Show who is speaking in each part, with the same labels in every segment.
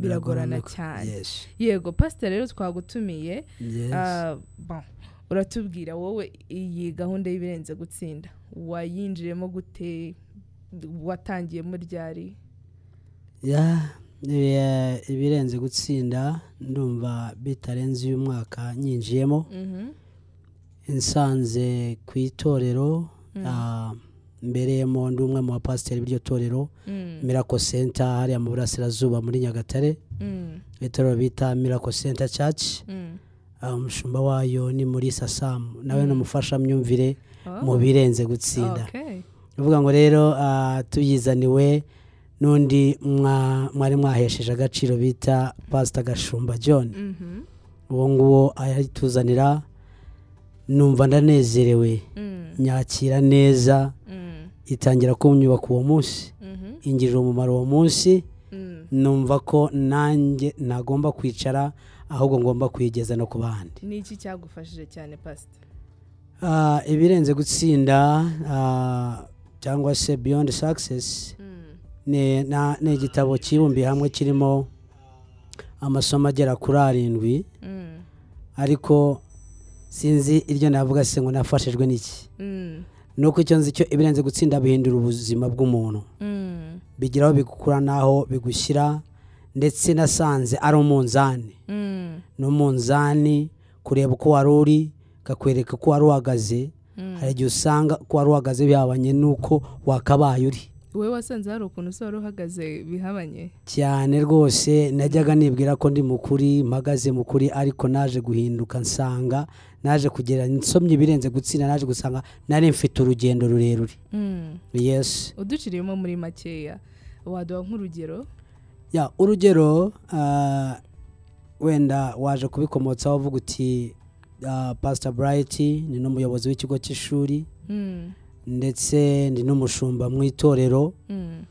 Speaker 1: biragorana cyane
Speaker 2: yes
Speaker 1: yego pasiteri rero twagutumiye
Speaker 2: yes
Speaker 1: Ah, bon, uratubwira wowe iyi gahunda y'ibirenze gutsinda wayinjiyemo gute watangiyemo ryari
Speaker 2: ya ibi- ibirenze gutsinda ndumva bitarenze uyu mwaka nyinjiyemo
Speaker 1: Mm-hmm.
Speaker 2: nsanze ku itorero ah, mbereyemo ndi umwe mu bapasiteri b'iryo torero
Speaker 1: Mm.
Speaker 2: miracle center hariya mu burasirazuba muri nyagatare
Speaker 1: Mm-hmm.
Speaker 2: itorero bita miracle center church Ah, umushumba wayo ni muri sasamu nawe ni umufashamyumvire mu birenze gutsinda
Speaker 1: Oh, Okay.
Speaker 2: uvuga ngo rero ah, tuyizaniwe n'undi mwa- mwari mwahesheje agaciro bita pasita gashumba john
Speaker 1: Mhm.
Speaker 2: uwo nguwo arituzanira numva ndanezerewe
Speaker 1: Mm,
Speaker 2: nyakira neza
Speaker 1: mm,
Speaker 2: itangira kunyubaka uwo munsi
Speaker 1: mhm,
Speaker 2: ingirira umumaro uwo munsi
Speaker 1: mm.
Speaker 2: numva ko nanjye nagomba kwicara ahubwo ngomba kuyigeza no ku bandi
Speaker 1: ni iki cyagufashije cyane pasita
Speaker 2: Ah, ibirenze gutsinda ah, cyangwa se beyond success
Speaker 1: Mm,
Speaker 2: ni na- ni igitabo kibumbiye hamwe kirimo amasomo agera kuri arindwi
Speaker 1: mm,
Speaker 2: ariko sinzi iryo navuga se ngo nafashijwe n'iki
Speaker 1: mm,
Speaker 2: ni uko icyo nzi cyo ibirenze gutsinda bihindura ubuzima bw'umuntu
Speaker 1: mm,
Speaker 2: bigira aho bigukura n'aho bigushyira ndetse nasanze ari umunzani
Speaker 1: mm,
Speaker 2: ni umunzani kureba uko wari uri kakwereka uko wari uhagaze
Speaker 1: mm.
Speaker 2: hari igihe usanga ko wari uhagaze bihabanye n'uko wakabaye uri
Speaker 1: wowe wasanze hari ukuntu usa wari uhagaze bihabanye
Speaker 2: cyane rwose najyaga nibwira ko ndi mukuri mpagaze mukuri ariko naje guhinduka nsanga naje kugera nsomye ibirenze gutsinda naje gusanga nari mfite urugendo rurerure
Speaker 1: Mm.
Speaker 2: yesi
Speaker 1: uduciriyemo muri makeya waduha nk'urugero
Speaker 2: ya urugero ah, wenda waje kubikomotsaho uvuga uti ah, pastor bright ni n'umuyobozi w'ikigo cy'ishuri
Speaker 1: Mm,
Speaker 2: ndetse ndi n'umushumba mu itorero
Speaker 1: mm,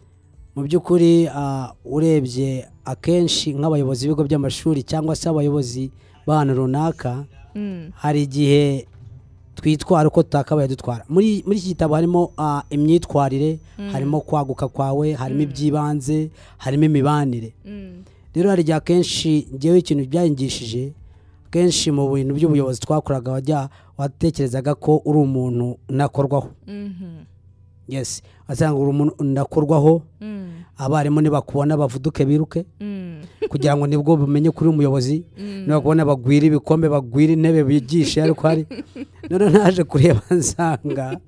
Speaker 2: mu by'ukuri ah, urebye akenshi nk'abayobozi b'ibigo by'amashuri cyangwa se abayobozi b'ahantu runaka
Speaker 1: mm,
Speaker 2: hari igihe twitwara uko tutakabaye dutwara muri muri iki gitabo harimo ah, imyitwarire harimo kwaguka kwawe harimo iby'ibanze harimo imibanire
Speaker 1: mm,
Speaker 2: rero hari igihe akenshi ngewe ikintu byangishije akenshi mu bintu by'ubuyobozi twakoraga wajya watekerezaga ko uri umuntu unakorwaho
Speaker 1: mhm,
Speaker 2: yes wasanga uri umuntu unakorwaho
Speaker 1: mm,
Speaker 2: abarimu nibakubona bavuduke biruke
Speaker 1: mm,
Speaker 2: kugira ngo nibwo bumenye kuri umuyobozi
Speaker 1: Mm.
Speaker 2: nibakubona bagwira ibikombe bagwira intebe bigishe ariko hari noneho naje kureba nsanga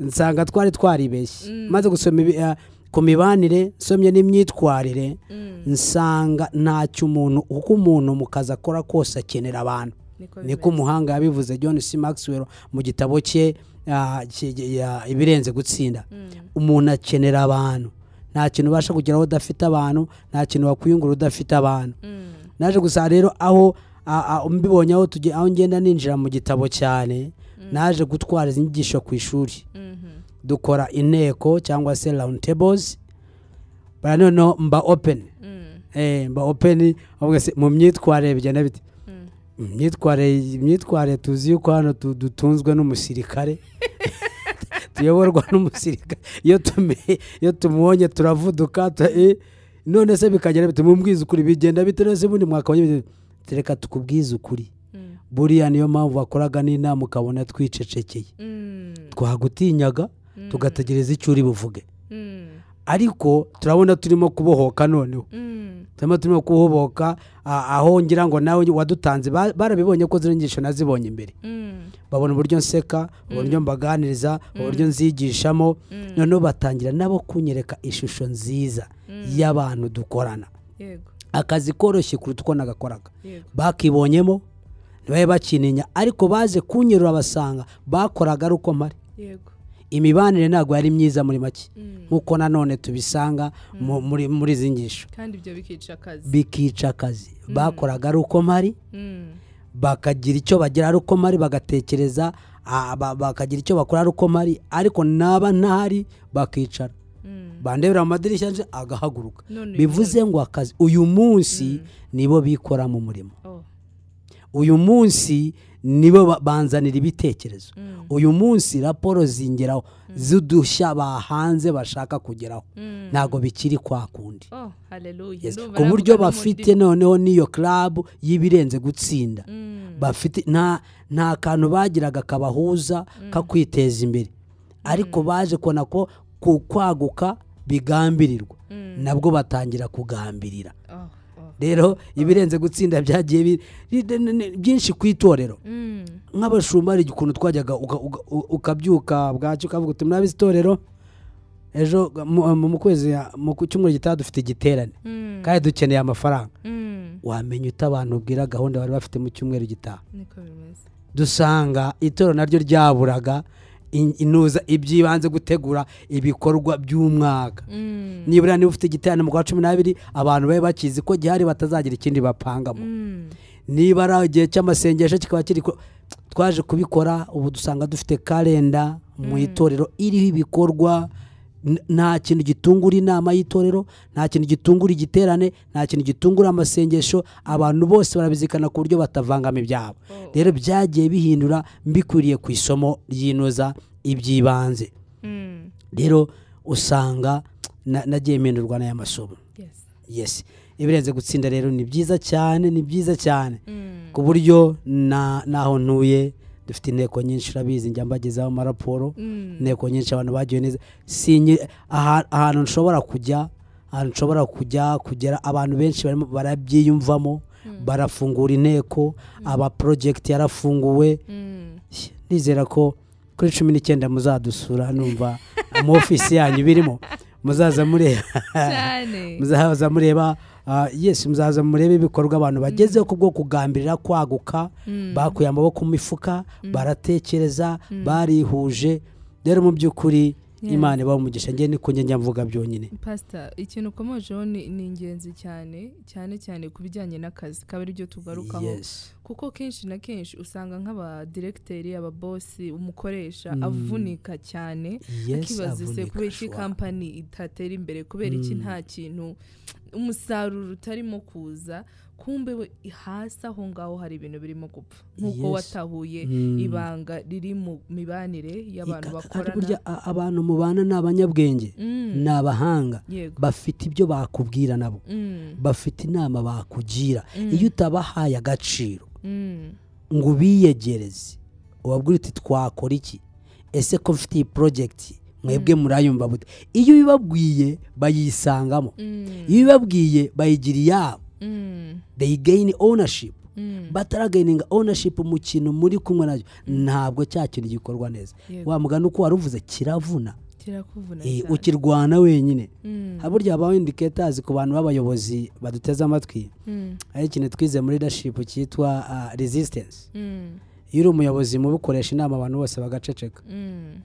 Speaker 2: nsanga twari twaribeshye
Speaker 1: Mm.
Speaker 2: maze gusoma ibi- eh, ku mibanire nsomye n'imyitwarire
Speaker 1: mm.
Speaker 2: nsanga ntacyo umuntu uko umuntu mu kazi akora kose akenera abantu
Speaker 1: niko
Speaker 2: niko
Speaker 1: bimeze
Speaker 2: umuhanga yabivuze john c maxwell mu gitabo cye ah, ki- ya- ibirenze gutsinda
Speaker 1: Mm,
Speaker 2: umuntu akenera abantu nta kintu ubasha kugeraho udafite abantu nta kintu wakwiyungura udafite abantu
Speaker 1: mm,
Speaker 2: naje gusa rero aho a- a- mbibonye aho tuge- aho ngenda ninjira mu gitabo cyane naje gutwara izi nyigisho ku ishuri
Speaker 1: mhm,
Speaker 2: dukora inteko cyangwa se round tables bara noneho mba open
Speaker 1: mm,
Speaker 2: eh, mba open avuga se mu myitwarire bigenda bite
Speaker 1: mm.
Speaker 2: imyitwarire imyitwarire tuzi yuko hano tu- dutunzwe n'umusirikare tuyoborwa n'umusirikare iyo tume- iyo tumubonye turavuduka tu- eh, none se bikagera bite mubwize ukuri bigenda bite none se bundi mwakabonye bite?" Ati, reka tukubwize ukuri
Speaker 1: Mm,
Speaker 2: buriya niyo mpamvu wakoraga n'inama ukabona twicecekeye
Speaker 1: mm,
Speaker 2: twagutinyaga tugategereza icyo uri buvuge
Speaker 1: mm,
Speaker 2: ariko turabona turimo kubohoka noneho
Speaker 1: mm,
Speaker 2: turimo turimo kuhoboka a- aho ngira ngo nawe wadutanze ba- barabibonye ko zino nyigisho nazibonye imbere
Speaker 1: mm,
Speaker 2: babona uburyo nseka uburyo mbaganiriza uburyo nzigishamo noneho batangira nabo kunyereka ishusho nziza y'abantu dukorana
Speaker 1: yego
Speaker 2: akazi koroshye kuruta uko nagakoraga
Speaker 1: yego
Speaker 2: bakibonyemo ntibabe bakininya ariko baze kunyerura basanga bakoraga ari uko mpari
Speaker 1: yego
Speaker 2: imibanire ntabwo yari myiza muri make
Speaker 1: Mm.
Speaker 2: nk'uko nanone tubisanga mu- muri muri izi nyigisho
Speaker 1: kandi ibyo bikica akazi
Speaker 2: bikica akazi bakoraga ari uko mpari
Speaker 1: Mm,
Speaker 2: bakagira icyo bagira ari uko mari bagatekereza ah, ba- bakagira icyo bakora ari uko mari ariko naba ntahari bakicara
Speaker 1: mm.
Speaker 2: bandebera mu madirishya nje agahaguruka
Speaker 1: None uyu
Speaker 2: bivuze ngo akazi uyu munsi nibo bikora mu murimo
Speaker 1: Oh,
Speaker 2: uyu munsi nibo ba- banzanira ibitekerezo uyu munsi raporo zingeraho z'udushya bahanze bashaka kugeraho
Speaker 1: Mm.
Speaker 2: ntabwo bikiri kwa kundi
Speaker 1: hmm. oh haleluya
Speaker 2: Yes.
Speaker 1: ndumva
Speaker 2: ku
Speaker 1: aravuga
Speaker 2: buryo
Speaker 1: no mu
Speaker 2: bafite
Speaker 1: ndimi.
Speaker 2: noneho n'iyo club y'ibirenze gutsinda
Speaker 1: Mm,
Speaker 2: bafite nta nta kantu bagiraga kabahuza ko kwiteza imbere ariko baje kubona ko ku kwaguka bigambirirwa
Speaker 1: Mm.
Speaker 2: nabwo batangira kugambirira
Speaker 1: oh, oh.
Speaker 2: rero ibirenze gutsinda byagiye bi- bi- ni- ni- byinshi ku itorero
Speaker 1: Mm,
Speaker 2: nk'abashumba hari ukuntu twajyaga uka- uka- u- ukabyuka bwacyo ukavuga uti murabizi itorero ejo mu- mu mu kwezi mu ku cyumweru gitaha dufite igiterane
Speaker 1: mm,
Speaker 2: kandi dukeneye amafaranga
Speaker 1: mm.
Speaker 2: wamenya ute abantu ubwira gahunda bari bafite mu cyumweru gitaha
Speaker 1: niko bimeze
Speaker 2: dusanga itorero naryo ryaburaga in- inuza iby'ibanze gutegura ibikorwa by'umwaka
Speaker 1: Mm,
Speaker 2: nibura niba ufite igiterane mu kwa cumi n'abiri abantu babe bakizi ko gihari batazagira ikindi bapangamo
Speaker 1: mm,
Speaker 2: niba ari igihe cy'amasengesho kikaba kiri ku- twaje kubikora ubu dusanga dufite kalenda
Speaker 1: Mm.
Speaker 2: mu itorero iriho ibikorwa n- nta kintu gitungura inama y'itorero nta kintu gitungura igiterane nta kintu gitungura amasengesho abantu bose barabizikana ku buryo batavangamo ibyabo
Speaker 1: Oh.
Speaker 2: rero byagiye bihindura mbikwiriye ku isomo ry'inoza iby'ibanze
Speaker 1: mm.
Speaker 2: rero usanga na- nagiye mpindurwa n'aya masomo
Speaker 1: yes
Speaker 2: yes ibirenze gutsinda rero ni byiza cyane ni byiza cyane
Speaker 1: Mm,
Speaker 2: ku buryo na- naho ntuye dufite inteko nyinshi urabizi njya mbagezaho amaraporo
Speaker 1: mm,
Speaker 2: inteko nyinshi abantu bagiye neza Si nye- aha- ahantu nshobora kujya ahantu nshobora kujya kugera abantu benshi barimo barabyiyumvamo
Speaker 1: Mm.
Speaker 2: barafungura inteko aba porojegiti yarafunguwe
Speaker 1: mm.
Speaker 2: nizera ko kuri cumi n'icyenda muzadusura numva mu ofisi yanyu birimo muzaza
Speaker 1: Ah.
Speaker 2: mureba
Speaker 1: cyane
Speaker 2: muzaza mureba ah, yes muzaza murebe ibikorwa abantu bagezeho ku bwo kugambirira kwaguka
Speaker 1: Mm.
Speaker 2: bakuye amaboko mu mifuka baratekereza barihuje rero mu by'ukuri
Speaker 1: Yes.
Speaker 2: imana ibaha umugisha njye ni ku njya mvuga byonyine
Speaker 1: pasita ikintu ukomojeho ni ni ingenzi cyane cyane cyane ku bijyanye n'akazi kaba aribyo tugarukaho
Speaker 2: yes
Speaker 1: kuko kenshi na kenshi usanga nk'abadiregiteri ababosi umukoresha avunika cyane
Speaker 2: Mm. Yes,
Speaker 1: akibaza ese
Speaker 2: avunika,
Speaker 1: kubera iki
Speaker 2: sure. Mm.
Speaker 1: kampani itatera imbere kubera iki nta kintu umusaruro utarimo kuza kumbe we hasi aho ngaho hari ibintu birimo gupfa nk'uko
Speaker 2: Yes.
Speaker 1: watahuye
Speaker 2: Mm.
Speaker 1: ibanga riri mu mibanire y'abantu
Speaker 2: Ika- ariko burya
Speaker 1: bakorana
Speaker 2: a- abantu mubana ni abanyabwenge
Speaker 1: Mm,
Speaker 2: ni abahanga
Speaker 1: yego
Speaker 2: bafite ibyo bakubwira nabo
Speaker 1: Mm,
Speaker 2: bafite inama bakugira iyo utabahaye agaciro
Speaker 1: mm,
Speaker 2: ngo ubiyegereze ubabwira uti twakora iki ese ko mfite iyi porojegiti mwebwe
Speaker 1: Mm.
Speaker 2: murayumva bute iyo ubibabwiye bayisangamo
Speaker 1: mm,
Speaker 2: iyo ubibabwiye bayigira iyabo
Speaker 1: mm,
Speaker 2: they gain ownership
Speaker 1: mm.
Speaker 2: bataragayininga ownership mu kintu muri kumwe nacyo ntabwo cya kintu gikorwa neza
Speaker 1: Yego.
Speaker 2: wa mugani uko wari uvuze kiravuna
Speaker 1: kirakuvuna
Speaker 2: Eh,
Speaker 1: cyane
Speaker 2: ukirwana wenyine
Speaker 1: Mm,
Speaker 2: Ha, burya habaho indicators ku bantu b'abayobozi baduteze amatwi
Speaker 1: mm,
Speaker 2: hari ikintu twize muri leadership cyitwa ah, resistance
Speaker 1: mm,
Speaker 2: iyo uri umuyobozi mubi ukoresha inama abantu bose bagaceceka
Speaker 1: mm.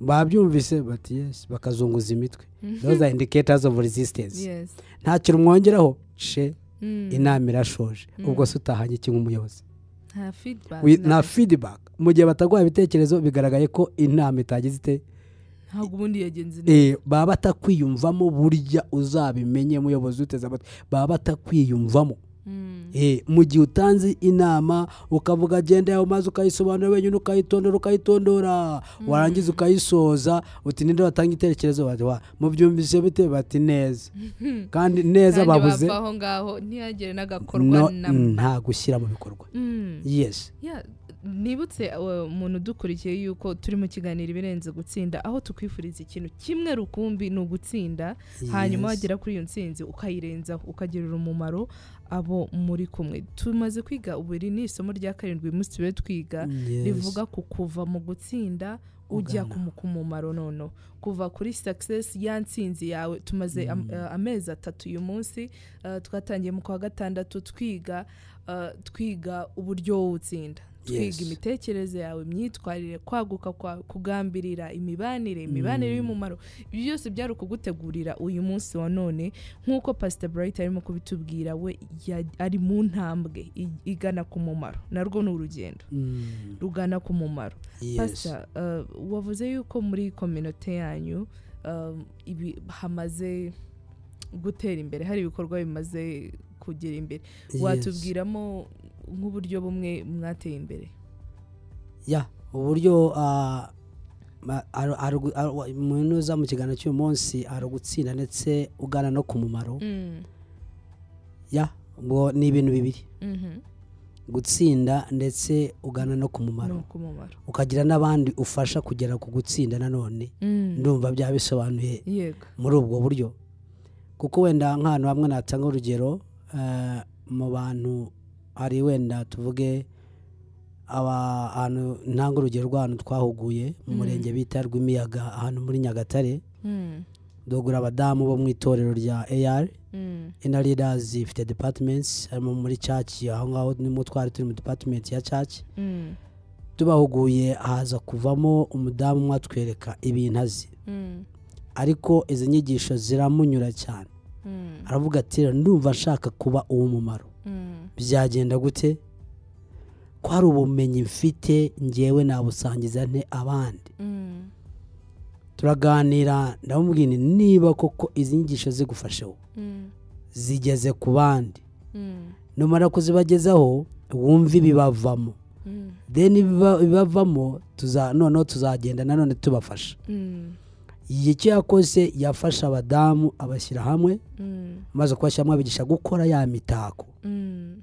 Speaker 2: babyumvise bati yes bakazunguza imitwe those are indicators of resistance
Speaker 1: Yes.
Speaker 2: nta kintu mwongeraho ce
Speaker 1: Mm.
Speaker 2: inama irashoje ubwo se utahanye iki nk'umuyobozi
Speaker 1: nta feedback
Speaker 2: Wi-
Speaker 1: nta-
Speaker 2: na feedback mu gihe bataguha ibitekerezo bigaragaye ko inama itagize ite
Speaker 1: ntabwo ubundi yagenze neza
Speaker 2: Eh, baba batakwiyumvamo burya uzabimenye muyobozi uteze amatwi baba batakwiyumvamo
Speaker 1: Mm,
Speaker 2: Eh, mu gihe utanze inama ukavuga genda yawe maze ukayisobanura wenyine ukayitondora ukayitondora
Speaker 1: Mm.
Speaker 2: warangiza ukayisoza uti ninde watanga itekerezo bati wa mubyumvise bite bati neza kandi neza
Speaker 1: kandi
Speaker 2: babuze
Speaker 1: bava aho ngaho ntihagire n'agakorwa
Speaker 2: no mm.
Speaker 1: na mba.
Speaker 2: nta gushyira mu bikorwa
Speaker 1: Mm.
Speaker 2: yes
Speaker 1: Yeah, nibutse uh, umuntu udukurikiye yuko turi mu kiganiro ibirenze gutsinda aho tukwifuriza ikintu kimwe rukumbi ni ugutsinda hanyuma
Speaker 2: Yes.
Speaker 1: wagera kuri iyo ntsinzi ukayirenzaho ukagirira umumaro abo muri kumwe tumaze kwiga ubu iri ni isomo rya karindwi uyu munsi turiwe twiga
Speaker 2: Yes.
Speaker 1: rivuga ku kuva mu gutsinda ujya ku mu- ku mumaro noneho kuva kuri success ya ntsinzi yawe tumaze am-
Speaker 2: Mm.
Speaker 1: eh, amezi atatu uyu munsi eh, twatangiye mu kwa gatandatu twiga eh, twiga uburyo utsinda twiga
Speaker 2: Yes.
Speaker 1: imitekerereze yawe imyitwarire kwaguka kwawe kugambirira imibanire
Speaker 2: Mm.
Speaker 1: imibanire y'umumaro ibyo byose byari ukugutegurira uyu munsi wa none nk'uko pasita burayiti arimo kubitubwira we ya- ari mu ntambwe i- igana ku mumaro narwo ni urugendo
Speaker 2: Mm,
Speaker 1: rugana ku mumaro uh,
Speaker 2: yes.
Speaker 1: pasita wavuze yuko muri kominote yanyu um, ibi uh, hamaze gutera imbere hari ibikorwa bimaze kugera imbere
Speaker 2: Yes.
Speaker 1: watubwiramo nk'uburyo bumwe mwateye imbere
Speaker 2: ya uburyo ah, ma- ari- ari- ari- wa- umuntu uza mu kiganiro cy'uyu munsi ari ugutsinda ndetse ugana no ku mumaro
Speaker 1: Mm,
Speaker 2: ya ubwo ni ibintu bibiri
Speaker 1: mhm.
Speaker 2: gutsinda ndetse ugana no ku
Speaker 1: ni
Speaker 2: mumaro
Speaker 1: ukumumaro
Speaker 2: ukagira n'abandi ufasha kugera ku gutsinda nanone
Speaker 1: Mm,
Speaker 2: ndumva byaba bisobanuye
Speaker 1: yego
Speaker 2: muri ubwo buryo kuko wenda nk'ahantu hamwe natanga urugero eh, mu bantu hari wenda tuvuge aba- ahantu ntanga urugero rw'ahantu twahuguye mu murenge bita rw'imiyaga ahantu muri nyagatare
Speaker 1: Mm,
Speaker 2: dogura abadamu bo mu itorero rya ar
Speaker 1: mm,
Speaker 2: ina leaders ifite departments harimo muri church aho ngaho nimo twari turi mu department ya church
Speaker 1: mm,
Speaker 2: tubahuguye haza kuvamo umudamu umwe atwereka ibintu azi
Speaker 1: mm,
Speaker 2: ariko izi nyigisho ziramunyura cyane
Speaker 1: mm,
Speaker 2: aravuga ati "Rero ndumva nshaka kuba uw'umumaro
Speaker 1: mm,
Speaker 2: byagenda gute ko hari ubumenyi mfite ngewe nabusangiza nte abandi
Speaker 1: mm,
Speaker 2: turaganira ndamubwira nti niba koko izi nyigisho zigufashe wowe,
Speaker 1: mm,
Speaker 2: zigeze ku bandi
Speaker 1: mm,
Speaker 2: numara kuzibagezaho wumve ibibavamo
Speaker 1: mm,
Speaker 2: then ibiba- ibibavamo tuza noneho tuzagenda nanone tubafasha
Speaker 1: mm,
Speaker 2: icyo yakoze yafashe abadamu abashyira hamwe
Speaker 1: mm,
Speaker 2: amaze kubashyiramo abigisha gukora ya mitako
Speaker 1: mm.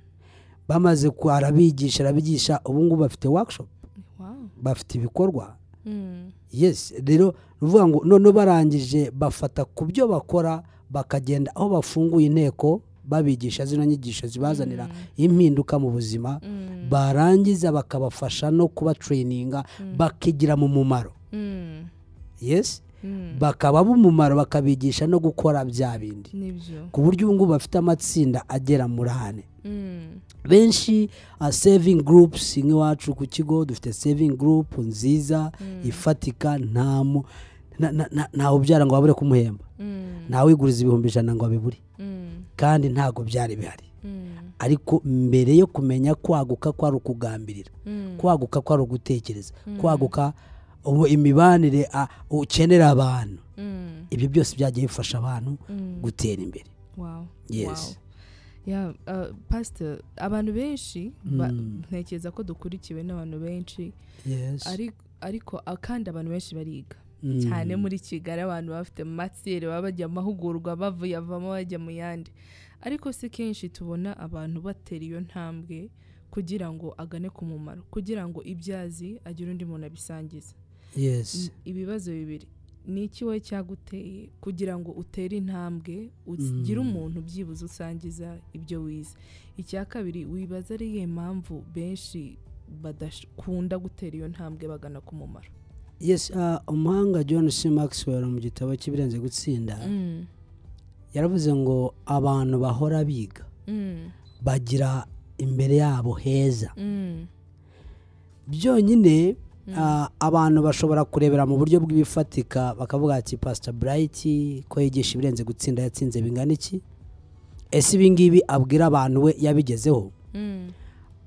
Speaker 2: bamaze ku- arabigisha arabigisha ubu ngubu bafite workshop
Speaker 1: Wow.
Speaker 2: bafite ibikorwa
Speaker 1: Mm,
Speaker 2: yes rero ni ukuvuga ngo noneho barangije bafata ku byo bakora bakagenda aho bafunguye inteko babigisha zino nyigisho zibazanira impinduka mu buzima
Speaker 1: mm,
Speaker 2: barangiza bakabafasha no kubatrayininga bakigira mu mumaro
Speaker 1: mm,
Speaker 2: yes
Speaker 1: mm.
Speaker 2: bakaba b'umumaro bakabigisha no gukora bya bindi
Speaker 1: nibyo
Speaker 2: ku buryo ubu ngubu bafite amatsinda agera muri ane
Speaker 1: Mm,
Speaker 2: benshi uh, saving groups nk'iwacu ku kigo dufite saving group nziza
Speaker 1: Mm.
Speaker 2: ifatika nta mu- na- na- na- ntawe ubyara ngo wabure kumuhemba
Speaker 1: mm,
Speaker 2: ntawe wiguriza ibihumbi ijana ngo abibure
Speaker 1: mm,
Speaker 2: kandi ntabwo byari bihari
Speaker 1: mm,
Speaker 2: ariko mbere yo kumenya kwaguka kwari ukugambirira
Speaker 1: mm,
Speaker 2: kwaguka kwari ugutekereza kwaguka ubu imibanire ah, ukenera abantu
Speaker 1: mm,
Speaker 2: ibyo byose byagiye bifasha abantu
Speaker 1: mm.
Speaker 2: gutera imbere
Speaker 1: Wow.
Speaker 2: Yes.
Speaker 1: Wow. Yeah, uh, pastor abantu benshi ba-
Speaker 2: Mm.
Speaker 1: ntekereza ko dukurikiwe n'abantu benshi
Speaker 2: yes.
Speaker 1: ari- ariko ah, kandi abantu benshi bariga
Speaker 2: Mm.
Speaker 1: cyane muri kigali abantu bafite matiyeri baba bajya mu mahugurwa bavuye avamo bajya mu yandi ariko si kenshi tubona abantu batera iyo ntambwe kugira ngo agane ku mumaro kugira ngo ibyo azi agire undi muntu abisangiza
Speaker 2: yes.
Speaker 1: ibibazo bibiri ni iki wowe cyaguteye kugira ngo utere intambwe ugire umuntu byibuze usangiza ibyo wize icya kabiri wibaza ari iyihe mpamvu benshi badakunda gutera iyo ntambwe bagana ku mumaro
Speaker 2: yes ah, umuhanga john c maxwell mu gitabo cy'ibirenze gutsinda
Speaker 1: Mm,
Speaker 2: yaravuze ngo abantu bahora biga
Speaker 1: mm,
Speaker 2: bagira imbere yabo heza
Speaker 1: mm.
Speaker 2: byonyine ah, abantu bashobora kurebera mu buryo bw'ibifatika bakavuga ati pastor bright ko yigisha ibirenze gutsinda yatsinze bingana iki ese ibi ngibi abwira abantu we yabigezeho
Speaker 1: Mm,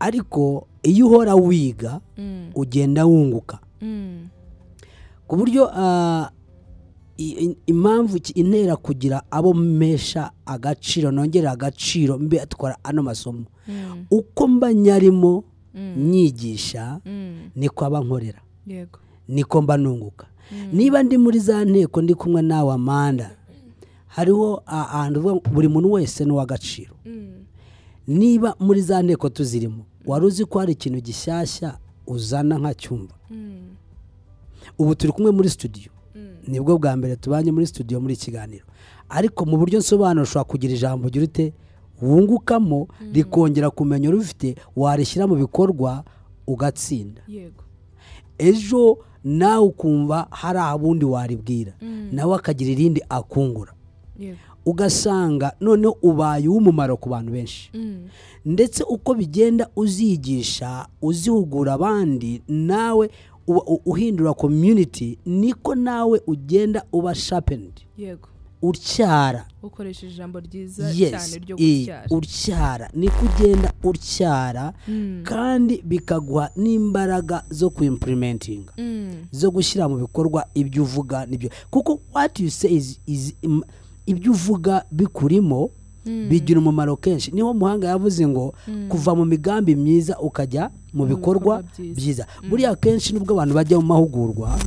Speaker 2: ariko iyo uhora wiga
Speaker 1: mm,
Speaker 2: ugenda wunguka
Speaker 1: mm,
Speaker 2: ku buryo ah, i- i- impamvu ki- intera kugira abo mpesha agaciro nongerera agaciro mbe atwara ano masomo
Speaker 1: mm,
Speaker 2: uko mba nyarimo
Speaker 1: Mm.
Speaker 2: nyigisha
Speaker 1: mm.
Speaker 2: niko aba nkorera
Speaker 1: yego
Speaker 2: niko mba nunguka niba ndi muri za nteko ndi kumwe nawe amanda hariho a- ahantu uvuga ngo buri muntu wese ni uw'agaciro
Speaker 1: Mm,
Speaker 2: niba muri za nteko tuzirimo wari uzi ko hari ikintu gishyashya uzana nkacyumva
Speaker 1: mm,
Speaker 2: ubu turi kumwe muri studio
Speaker 1: mm,
Speaker 2: nibwo bwa mbere tubanye muri studio muri kiganiro ariko mu buryo nsobanura ushobora kugira ijambo ugira ute wungukamo rikongera kumenya urufite warishyira mu bikorwa ugatsinda
Speaker 1: yego
Speaker 2: ejo nawe ukumva hari abundi waribwira nawe akagira irindi akungura
Speaker 1: yego
Speaker 2: ugasanga noneho ubaye uw'umumaro ku bantu benshi
Speaker 1: Mm,
Speaker 2: ndetse uko bigenda uzigisha uzihugura abandi nawe uba u- uhindura community niko nawe ugenda uba sharpened
Speaker 1: yego
Speaker 2: utyara
Speaker 1: ukoresheje ijambo ryiza cyane
Speaker 2: yes
Speaker 1: ryo
Speaker 2: eh,
Speaker 1: gutyara
Speaker 2: utyara niko ugenda utyara
Speaker 1: Mm,
Speaker 2: kandi bikaguha n'imbaraga zo kuimplementinga
Speaker 1: mm,
Speaker 2: zo gushyira mu bikorwa ibyo uvuga nibyo kuko what you say is, is im- ibyo uvuga bikurimo bigira umumaro kenshi niho muhanga yavuze ngo kuva mu migambi myiza ukajya Hmm. mu bikorwa byiza Hmm. buriya akenshi nubwo abantu bajya mu mahugurwa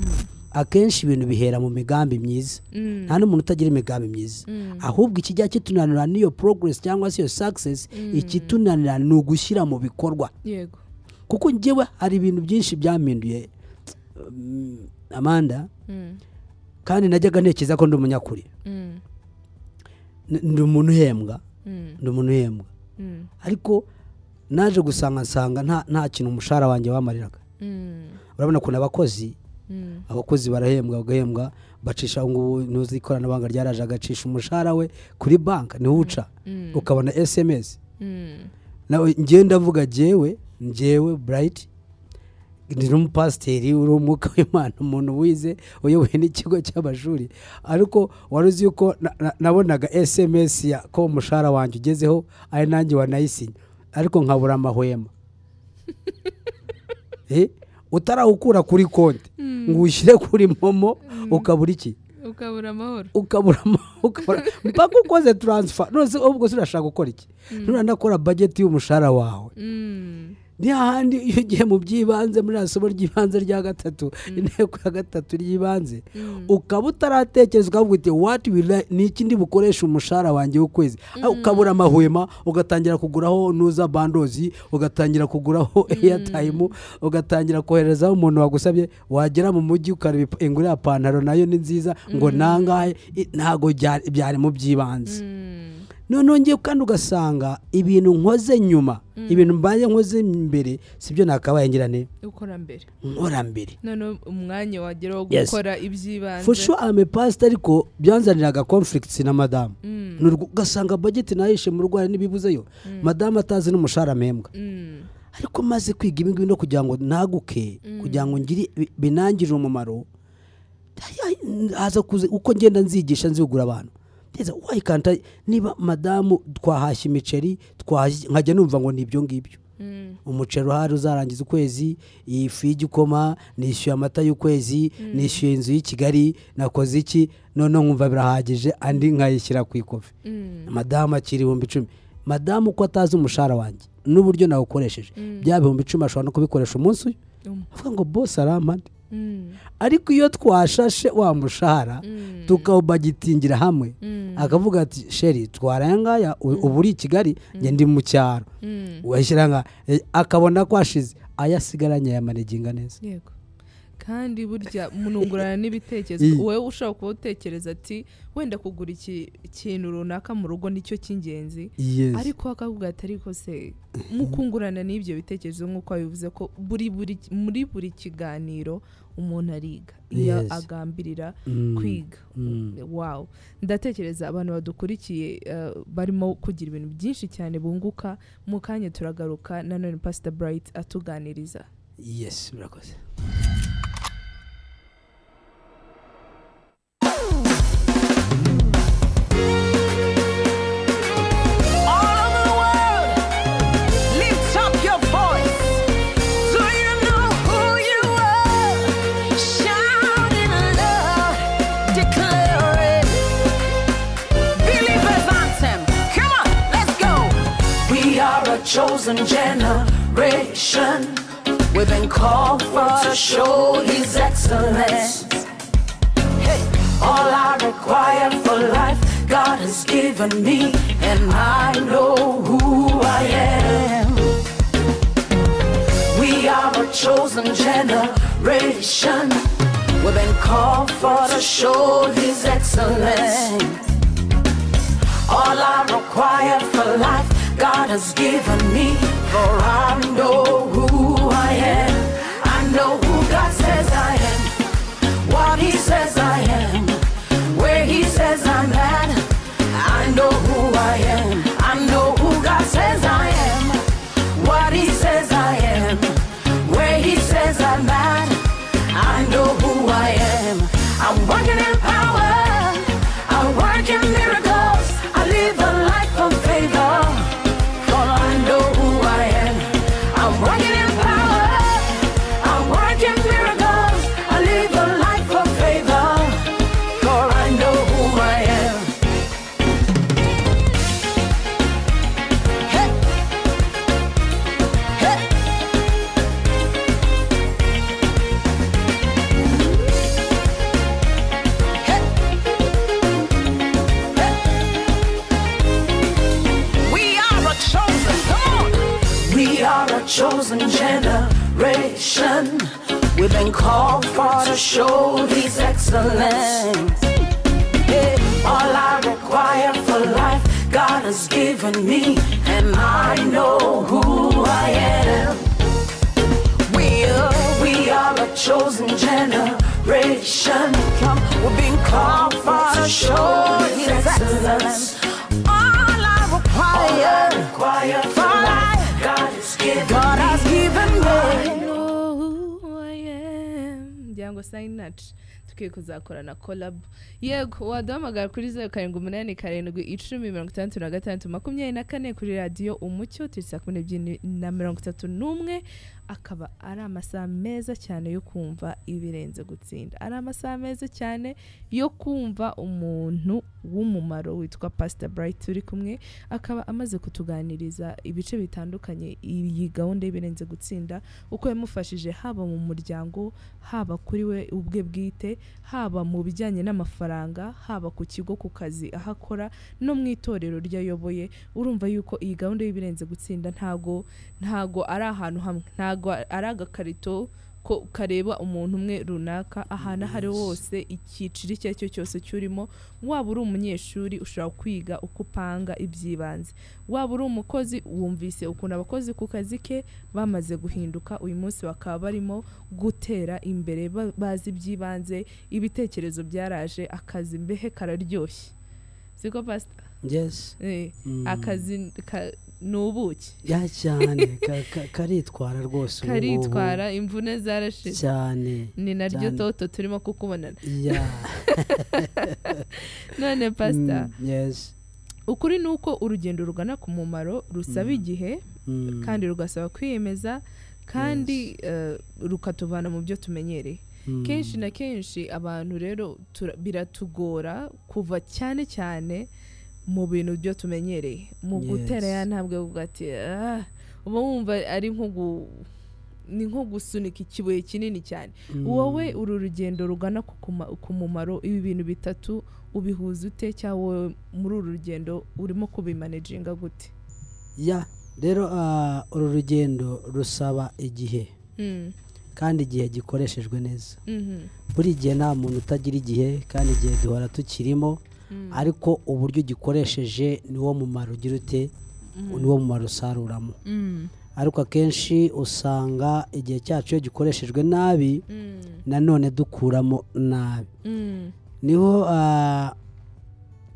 Speaker 2: akenshi ibintu bihera mu migambi myiza nta n'umuntu utagira imigambi myiza ahubwo ikijya kitunanira n'iyo poroguresi cyangwa se iyo sakisesi ikitunanira ni ugushyira mu bikorwa kuko ngewe hari ibintu byinshi byampinduye Mm, amanda kandi najyaga ntekereza ko ndi umunyakuri
Speaker 1: Mm,
Speaker 2: ndi umuntu uhembwa ndi umuntu uhembwa
Speaker 1: mm,
Speaker 2: ariko naje gusanga nsanga nta kintu umushahara wanjye wamariraga
Speaker 1: mm,
Speaker 2: urabona ukuntu abakozi abakozi barahembwa bagahembwa bacisha ngubu ntuzi ikoranabuhanga ryaraje agacisha umushahara we kuri banki ntiwuca ukabona esemesi
Speaker 1: mm,
Speaker 2: nawe ngenda avuga njyewe njyewe burayiti ni n'umupasiteri uri umwuka w'imana umuntu wize uyoboye n'ikigo cy'amashuri ariko wari uzi yuko nabonaga esemesi ko umushahara wanjye ugezeho ari nanjye wanayisinya ariko nkabura amahwema Eh? utarawukura kuri konti ngo ushyire kuri momo ukabura iki
Speaker 1: mm, ukabura amahoro
Speaker 2: ukabura amahoro mpaka ukoze taransifa none ubwo se urashaka gukora iki nturanakora bageti y'umushahara wawe
Speaker 1: mm,
Speaker 2: ni hahandi iyo ugiye mu by'ibanze muri somo ry'ibanze rya gatatu inteko ya gatatu ry'ibanze ukaba utaratekereza ukavuga uti wati ni ikindi bukoresha umushahara wanjye w'ukwezi ukabura amahwema ugatangira kuguraho nuza bandozi ugatangira kuguraho eyatayimu ugatangira koherezaho umuntu wagusabye wagera mu mujyi ukareba ingurira pantaro nayo ni nziza ngo nangahe ntabwo byari mu
Speaker 1: Mm.
Speaker 2: by'ibanze noneho ngewe kandi ugasanga ibintu nkoze nyuma ibintu mbaye nkoze imbere sibyo nakabaye ngirane
Speaker 1: ukora mbere
Speaker 2: nkora mbere
Speaker 1: noneho umwanya wagera wo gukora iby'ibanze
Speaker 2: fusho amepasite ariko byanzaniraga konfurigisi na madamu ugasanga bageti nayishe mu rwanda n'ibibuzeyo madamu atazi n'umushahara mpembwa ariko maze kwiga ibi ngibi no kugira ngo ntaguke kugira ngo ngire binangire umumaro haza uko ngenda nzigisha nzigura abantu wayikanta niba madamu twahashya imiceri nkajya numva ngo ni ibyo ngibyo
Speaker 1: mm,
Speaker 2: umuceri uhari uzarangiza ukwezi ifu y'igikoma nishyuye amata y'ukwezi nishyuye inzu y'i kigali nakoze iki noneho nkumva birahagije andi nkayishyira ku ikofi
Speaker 1: Mm.
Speaker 2: madamu akira ibihumbi icumi madamu uko atazi umushahara wanjye n'uburyo nawukoresheje
Speaker 1: Mm.
Speaker 2: bya bihumbi icumi ashobora no kubikoresha umunsi uyu avuga ngo bose arampande
Speaker 1: mm,
Speaker 2: ariko iyo twashashe wa mushahara
Speaker 1: Mm.
Speaker 2: tukawubagitingira hamwe akavuga ati sheri twarangaya
Speaker 1: Mm.
Speaker 2: ubu uri i kigali ndi mu cyaro washyiranga akabona ko ashize ayasigaranye yamanaginga neza
Speaker 1: kandi burya munungurana n'ibitekerezo wowe ushobora kuba utekereza ati wenda kugura ikintu runaka mu rugo nicyo cy'ingenzi ariko akavuga ati ariko se mukungurana n'ibyo bitekerezo nk'uko bivuze ko muri buri kiganiro umuntu ariga iyo agambirira
Speaker 2: Mm.
Speaker 1: kwiga wawu ndatekereza abantu badukurikiye eh, barimo kugira ibintu byinshi cyane bunguka mu kanya turagaruka nanone pasita burayiti atuganiriza
Speaker 2: yesi murakoze
Speaker 3: chosen generation. We've been called for to show His excellence. Hey, all I require for life, God has given me, and I know who I am. We are a chosen generation. We've been called for to show His excellence. All I require for life. God has given me. For I know who I am. I know who God says I am. What He says I am. Where He says I'm at. I know who I am. I know who God says I am. What He says I am. Where He says I'm at. I know who I am. I'm working in power. I'm working miracles. I live a life of favor. I'm working in power. I'm working chosen generation. We've been called for to show His excellence. Yeah. All I require for life, God has given me, and I know who I am. We are, we are a chosen generation. Come, we're being called for to show His excellence. All I require, require for life, God has given God has given me.
Speaker 1: ngo sayinaci tukwiye kuzakorana korabu yego waduhamagara kuri zeru karindwi umunani karindwi icumi mirongo itandatu na gatandatu makumyabiri na kane kuri radiyo umucyo turi saa kumi n'ebyiri na mirongo itatu n'umwe akaba ari amasaha meza cyane yo kumva ibirenze gutsinda ari amasaha meza cyane yo kumva umuntu w'umumaro witwa pasita burayiti uri kumwe akaba amaze kutuganiriza ibice bitandukanye iyi gahunda y'ibirenze gutsinda uko yamufashije haba mu muryango haba kuri we ubwe bwite haba mu bijyanye n'amafaranga haba ku kigo ku kazi aho akora no mu itorero ryo ayoboye urumva yuko iyi gahunda y'ibirenze gutsinda ntago ntago ari ahantu hamwe ntago ari agakarito ko kareba umuntu umwe runaka ahantu aho ari hose icyiciro icyo ari cyo cyose cyurimo waba uri umunyeshuri ushobora kwiga uko upanga iby'ibanze waba uri umukozi wumvise ukuntu abakozi ku kazi ke bamaze guhinduka uyu munsi bakaba barimo gutera imbere bazi iby'ibanze ibitekerezo byaraje akazi mbehe kararyoshye siko pasita akazi ni ubuki
Speaker 2: ya cyane karitwara rwose ubu
Speaker 1: karitwara imvune zarashize
Speaker 2: cyane
Speaker 1: ni naryo toto turimo kukubonana none pasita
Speaker 2: Hmm. Mm,
Speaker 1: ukuri ni uko urugendo rugana ku mumaro rusaba igihe
Speaker 2: Hmm. Mm,
Speaker 1: kandi rugasaba kwiyemeza kandi eh, rukatuvana mu byo tumenyereye
Speaker 2: mm.
Speaker 1: kenshi na kenshi abantu rero biratugora kuva cyane cyane mu bintu byo tumenyereye mu gutera ya ntabwo avuga ati "Ah." uba wumva ari nko gusunika ikibuye kinini cyane wowe uru rugendo rugana ku mumaro ibi bintu bitatu ubihuza ute cyangwa wowe muri uru rugendo urimo kubimanejinga gute
Speaker 2: ya rero ah, uru rugendo rusaba igihe kandi igihe gikoreshejwe neza
Speaker 1: Mm-hmm.
Speaker 2: buri gihe nta muntu utagira igihe kandi igihe duhora tukirimo
Speaker 1: Mm.
Speaker 2: ariko uburyo ugikoresheje ni wo mumaro ugira ute
Speaker 1: Mm.
Speaker 2: ni wo mumaro usaruramo ariko akenshi usanga igihe cyacu iyo gikoreshejwe nabi
Speaker 1: Mm.
Speaker 2: nanone dukuramo nabi niho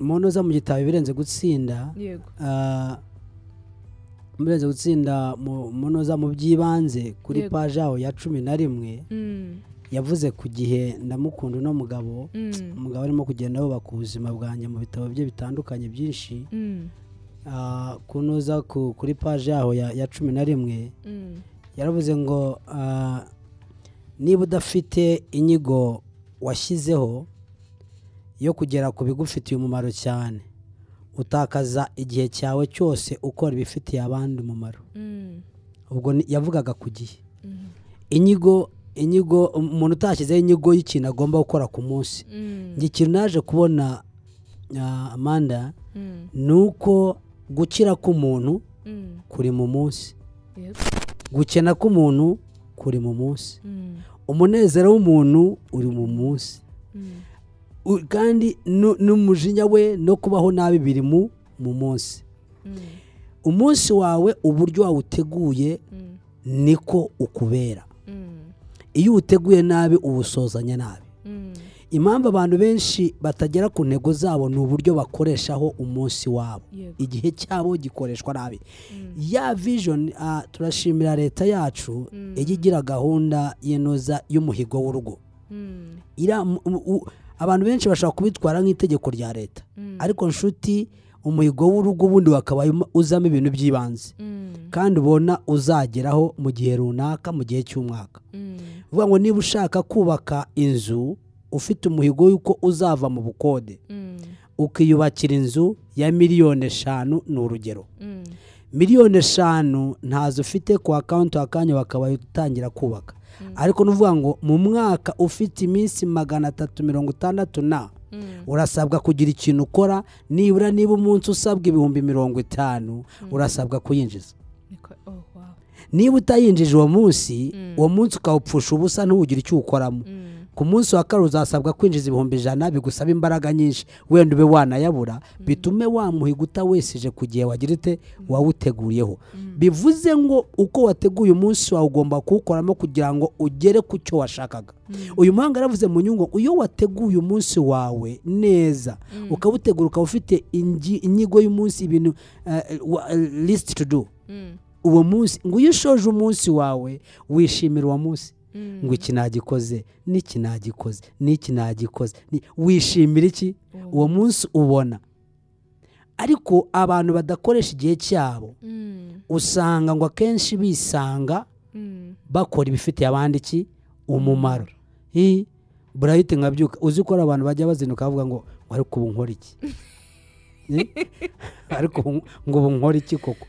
Speaker 2: umuntu uza mu gitabo ibirenze gutsinda ibirenze gutsinda umuntu uza mu by'ibanze kuri paji aho ya cumi na rimwe
Speaker 1: Mm.
Speaker 2: yavuze ku gihe ndamukunda uno mugabo umugabo arimo kugenda wubaka ubuzima bwanjye mu bitabo bye bitandukanye byinshi
Speaker 1: Mm.
Speaker 2: ah, kunoza kuri paji yaho ya cumi na rimwe
Speaker 1: Mm.
Speaker 2: yaravuze ngo "Ah, niba udafite inyigo washyizeho yo kugera ku bigufitiye umumaro cyane utakaza igihe cyawe cyose ukora ibifitiye abandi umumaro
Speaker 1: Mm.
Speaker 2: ubwo yavugaga ku gihe inyigo inyigo umuntu utashyizeho inyigo y'ikintu agomba gukora ku munsi
Speaker 1: Mm.
Speaker 2: ikintu naje kubona ah, amanda ni uko gukira k'umuntu kuri mu munsi gukena k'umuntu kuri mu munsi umunezero w'umuntu uri mu munsi kandi n'umujinya we no kubaho nabi biri mu munsi umunsi wawe uburyo wawuteguye niko ukubera iyo uwuteguye nabi uwusozanya nabi impamvu abantu benshi batagera ku ntego zabo ni uburyo bakoreshaho umunsi wabo igihe cyabo gikoreshwa nabi ya vijoni turashimira leta yacu ijya igira gahunda y'inoza y'umuhigo w'urugo abantu benshi bashobora kubitwara nk'itegeko rya leta ariko nshuti umuhigo w'urugo ubundi wakaba uzamo ibintu by'ibanze kandi ubona uzageraho mu gihe runaka mu gihe cy'umwaka
Speaker 1: Mm.
Speaker 2: vuga ngo niba ushaka kubaka inzu ufite umuhigo y'uko uzava mu bukode ukiyubakira inzu ya miliyoni eshanu ni urugero miliyoni eshanu ntazo ufite ku akawunti wakanya bakaba utangira kubaka ariko n'uvuga ngo mu mwaka ufite iminsi magana atatu mirongo itandatu na urasabwa kugira ikintu ukora nibura niba umunsi usabwa ibihumbi mirongo itanu urasabwa kuyinjiza niba utayinjije uwo munsi uwo munsi ukawupfusha ubusa ntuwugire icyo uwukoramo ku munsi wa kare uzasabwa kwinjiza ibihumbi ijana bigusaba imbaraga nyinshi wenda ube wanayabura bitume wamuhiga utawesije ku gihe wagira ute wawuteguriyeho bivuze ngo uko wateguye umunsi wawe ugomba kuwukoramo kugira ngo ugere ku cyo washakaga uyu muhanga yaravuze mu nyungu iyo wateguye umunsi wawe neza ukawutegura ukaba ufite inyigo y'umunsi ibintu eh, lisiti to do uwo munsi ngo iyo ushoje umunsi wawe wishimira uwo munsi ngo iki nagikoze n'iki nagikoze n'iki nagikoze wishimira iki uwo munsi ubona ariko abantu badakoresha igihe cyabo
Speaker 1: Mm.
Speaker 2: usanga ngo akenshi bisanga bakora ibifitiye abandi iki umumaro burayiti nkabyuka uzi ko hari abantu bajya bazinduka bavuga ngo ariko ubu nkora iki ariko ngo ubu nkora iki koko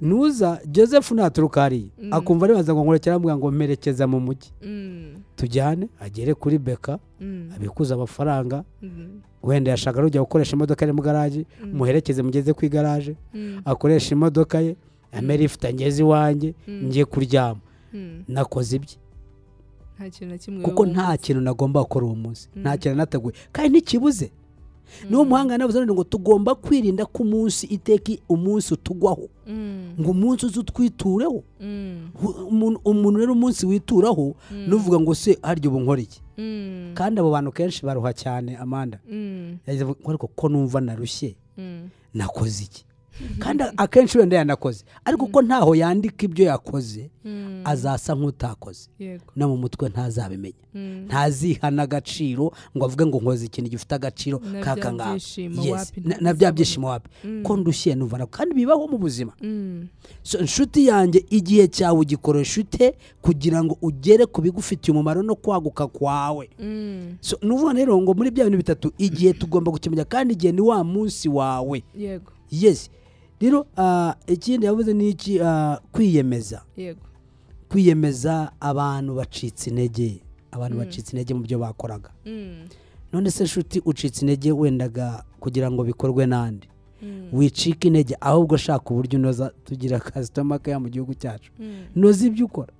Speaker 2: nuza joseph naturuka hariya akumva aribaza ngo nkorekera aramubwira ngo mperekeza mu mujyi tujyane agere kuri beka abikuze amafaranga wenda yashaka rujya gukoresha imodoka iri mu garaje muherekeze mugeze ku igaraje akoresha imodoka ye amerifite ngeze iwanjye ngiye kuryama nakoze ibye kuko nta kintu nagomba gukora uwo munsi nta kintu nateguye kandi ntikibuze niwo muhanga nawe ngo tugomba kwirinda ko umunsi iteki umunsi utugwaho
Speaker 1: Mm.
Speaker 2: ngo umunsi uze utwitureho umuntu rero umunsi wituraho nuvuga ngo se harya ubu nkora iki kandi abo bantu kenshi baruha cyane amanda
Speaker 1: Mm.
Speaker 2: ariko ko numva narushye nakoze iki kandi akenshi wenda yanakoze ariko ko ntaho yandika ibyo yakoze azasa nk'utakoze no mu mutwe ntazabimenya ntazihana agaciro ngo avuge ngo nkoze ikintu gifite agaciro kaka ngaha na bya byishimo wapi Mm. ko ndushye nuvana kandi bibaho mu buzima inshuti yanjye igihe cyawe ugikoresha ute kugira ngo ugere ku bigufitiye umumaro no kwaguka kwawe ni ukuvuga rero ngo muri bya bintu bitatu igihe tugomba gukemura kandi igihe ni wa munsi wawe yesi rero ah, ikindi yavuze ni iki Ah, kwiyemeza kwiyemeza abantu bacitse intege abantu bacitse intege mu byo bakoraga none se nshuti ucitse intege wendaga kugira ngo bikorwe n'andi wicika intege ahubwo ushaka uburyo unoza tugira kasitoma keya mu gihugu cyacu noza ibyo ukora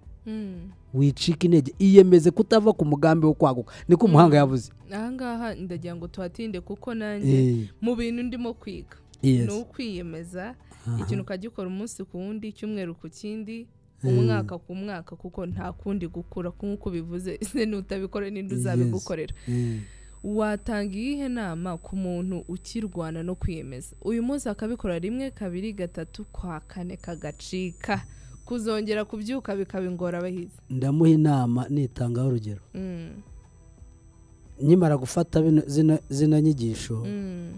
Speaker 2: wicika intege iyemeze kutava ku mugambi wo kwaguka niko umuhanga yavuze Eh,
Speaker 1: ahangaha ndagira ngo tuhatinde kuko nanjye mu bintu ndimo kwiga ni ukwiyemeza ikintu ukagikora umunsi ku wundi icyumweru ku kindi umwaka ku mwaka kuko nta kundi gukura nk'uko bivuze n'utabikora n'indi uzabigukorera
Speaker 2: eh.
Speaker 1: watanga iyihe nama ku muntu ukirwana no kwiyemeza uyu munsi akabikora rimwe kabiri gatatu kwa kane kagacika kuzongera kubyuka bikaba ingorabahizi
Speaker 2: ndamuha inama nitangaho urugero
Speaker 1: Mm,
Speaker 2: nkimara gufata zino nyigisho
Speaker 1: Mm.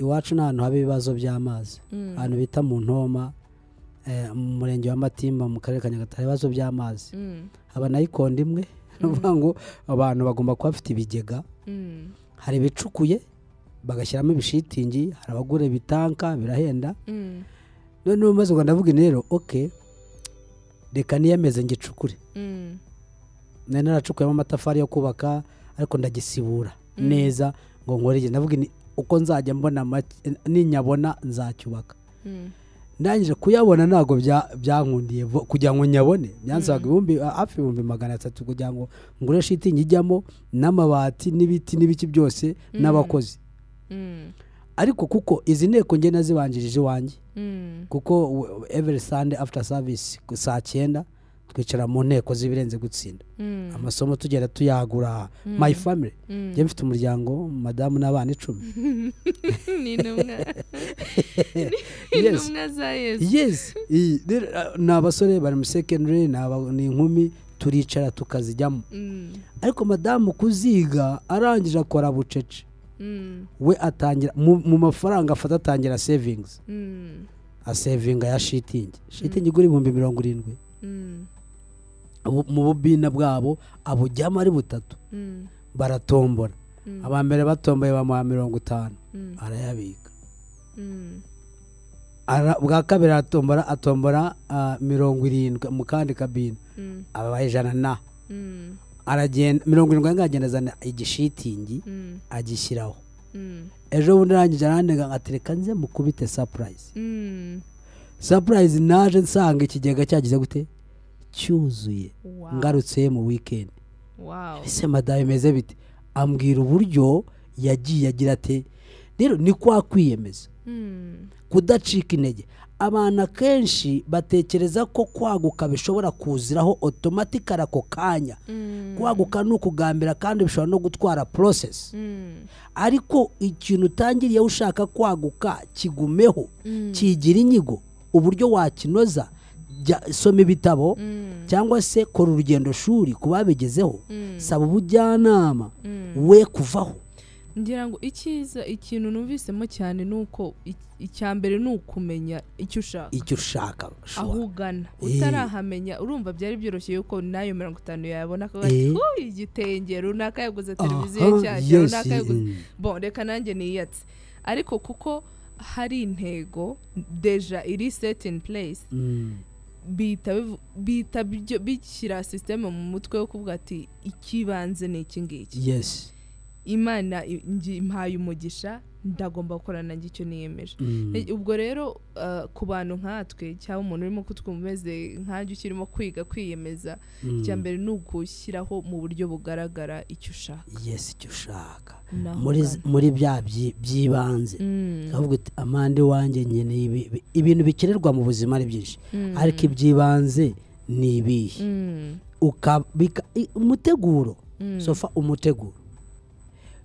Speaker 2: iwacu ni ahantu haba ibibazo by'amazi ahantu bita mu ntoma eh, mu murenge wa matimba mu karere ka nyagatare ibibazo by'amazi
Speaker 1: Mm.
Speaker 2: haba na ikondo imwe ni ngo abantu bagomba kuba bafite ibigega
Speaker 1: mm,
Speaker 2: hari ibicukuye bagashyiramo ibishitingi hari abagura ibitanka birahenda
Speaker 1: mm,
Speaker 2: noneho maze ngo ndavuga rero oke reka niyemeze ngo icukure
Speaker 1: mm,
Speaker 2: nari naracukuyemo amatafari yo kubaka ariko ndagisibura neza ngo nkore igihe ndavuga uko nzajya mbona ninyabona nzacyubaka
Speaker 1: mm,
Speaker 2: ndangije kuyabona ntabwo byankundiye kugira ngo nyabone byansabaga ibihumbi hafi ibihumbi magana atatu kugira ngo ngure shitingi ijyamo n'amabati n'ibiti n'ibiki byose n'abakozi
Speaker 1: mm,
Speaker 2: ariko kuko izi nteko nge nazibanjirije iwanjye
Speaker 1: mm.
Speaker 2: kuko every sunday after service saa cyenda twicara mu nteko z'ibirenze gutsinda amasomo tugenda tuyagura my family njye mfite umuryango madamu n'abana icumi ni abasore bari muri secondary ni inkumi turicara tukazijyamo ariko madamu kuziga arangije akora bucece
Speaker 1: Mm,
Speaker 2: we atangira mu mafaranga afata atangira savings
Speaker 1: mm,
Speaker 2: asevinga ya shitingi shitingi igura ibihumbi mirongo irindwi
Speaker 1: mm,
Speaker 2: mu bubina bwabo abujyamo ari butatu
Speaker 1: mm,
Speaker 2: baratombora aba mbere batomboye bamuha mirongo itanu arayabika
Speaker 1: mm,
Speaker 2: bwa kabiri aratombora atombora ah, mirongo irindwi mu kandi kabine abaha ijana na
Speaker 1: mm,
Speaker 2: aragenda mirongo irindwi agenda azana igishitingi agishyiraho
Speaker 1: mm.
Speaker 2: ejo bundi arangije arandega nka tereka nze mukubite sapurayisi sapurayizi naje nsanga ikigega cyagize gute cyuzuye
Speaker 1: Wow.
Speaker 2: ngarutse mu weekend
Speaker 1: wow
Speaker 2: ese madamu bimeze bite ambwira uburyo yagiye agira ati rero ni kwa kwiyemeza
Speaker 1: Mm.
Speaker 2: kudacika intege abantu akenshi batekereza ko kwaguka bishobora kuziraho otomatikari ako kanya
Speaker 1: Mm.
Speaker 2: kwaguka ni ukugambira kandi bishobora no gutwara porosesi
Speaker 1: Mm.
Speaker 2: ariko ikintu utangiriyeho ushaka kwaguka kigumeho
Speaker 1: Mm.
Speaker 2: kigira inyigo uburyo wakinoza jya soma ibitabo
Speaker 1: Mm.
Speaker 2: cyangwa se kora urugendo shuri ku babigezeho
Speaker 1: Mm.
Speaker 2: saba ubujyanama
Speaker 1: Mm.
Speaker 2: we kuvaho
Speaker 1: ngira ngo icyiza ikintu numvisemo cyane ni uko i- icya mbere ni ukumenya icyo ushaka
Speaker 2: icyo ushaka
Speaker 1: aho
Speaker 2: shora
Speaker 1: ugana
Speaker 2: Eh.
Speaker 1: utarahamenya urumva byari byoroshye yuko n'ayo mirongo itanu yayabona akavuga ati
Speaker 2: Eh.
Speaker 1: "Uy, igitenge runaka yaguze televiziyo
Speaker 2: Aha,
Speaker 1: nshyashya
Speaker 2: yes,
Speaker 1: runaka yaguze
Speaker 2: mm.
Speaker 1: bon reka nanjye niyatse ariko kuko hari intego deja iri set in place
Speaker 2: Mm.
Speaker 1: bihita bivu- bihita bijyo- bishyira sisiteme mu mutwe wo kuvuga ati ikibanze ni iki ngiki
Speaker 2: yes
Speaker 1: imana i- ngi- impaye umugisha ndagomba gukora nanjye icyo niyemeje
Speaker 2: Mm.
Speaker 1: Eh, ubwo rero eh, ku bantu nkatwe cyangwa umuntu urimo kutwumva umeze nkanjye ukirimo kwiga kwiyemeza
Speaker 2: Mm.
Speaker 1: icya mbere ni ugushyiraho mu buryo bugaragara icyo ushaka
Speaker 2: yes icyo ushaka
Speaker 1: Naho
Speaker 2: muri
Speaker 1: ugana.
Speaker 2: muri bya byi- by'ibanze
Speaker 1: Mm,
Speaker 2: avuga ati amande wanjye nkeneye ibi- ibi- ibintu bikenerwa mu buzima ari byinshi ariko iby'ibanze ni ibihe
Speaker 1: mm,
Speaker 2: ukabika i- umuteguro
Speaker 1: Mm.
Speaker 2: sofa umuteguro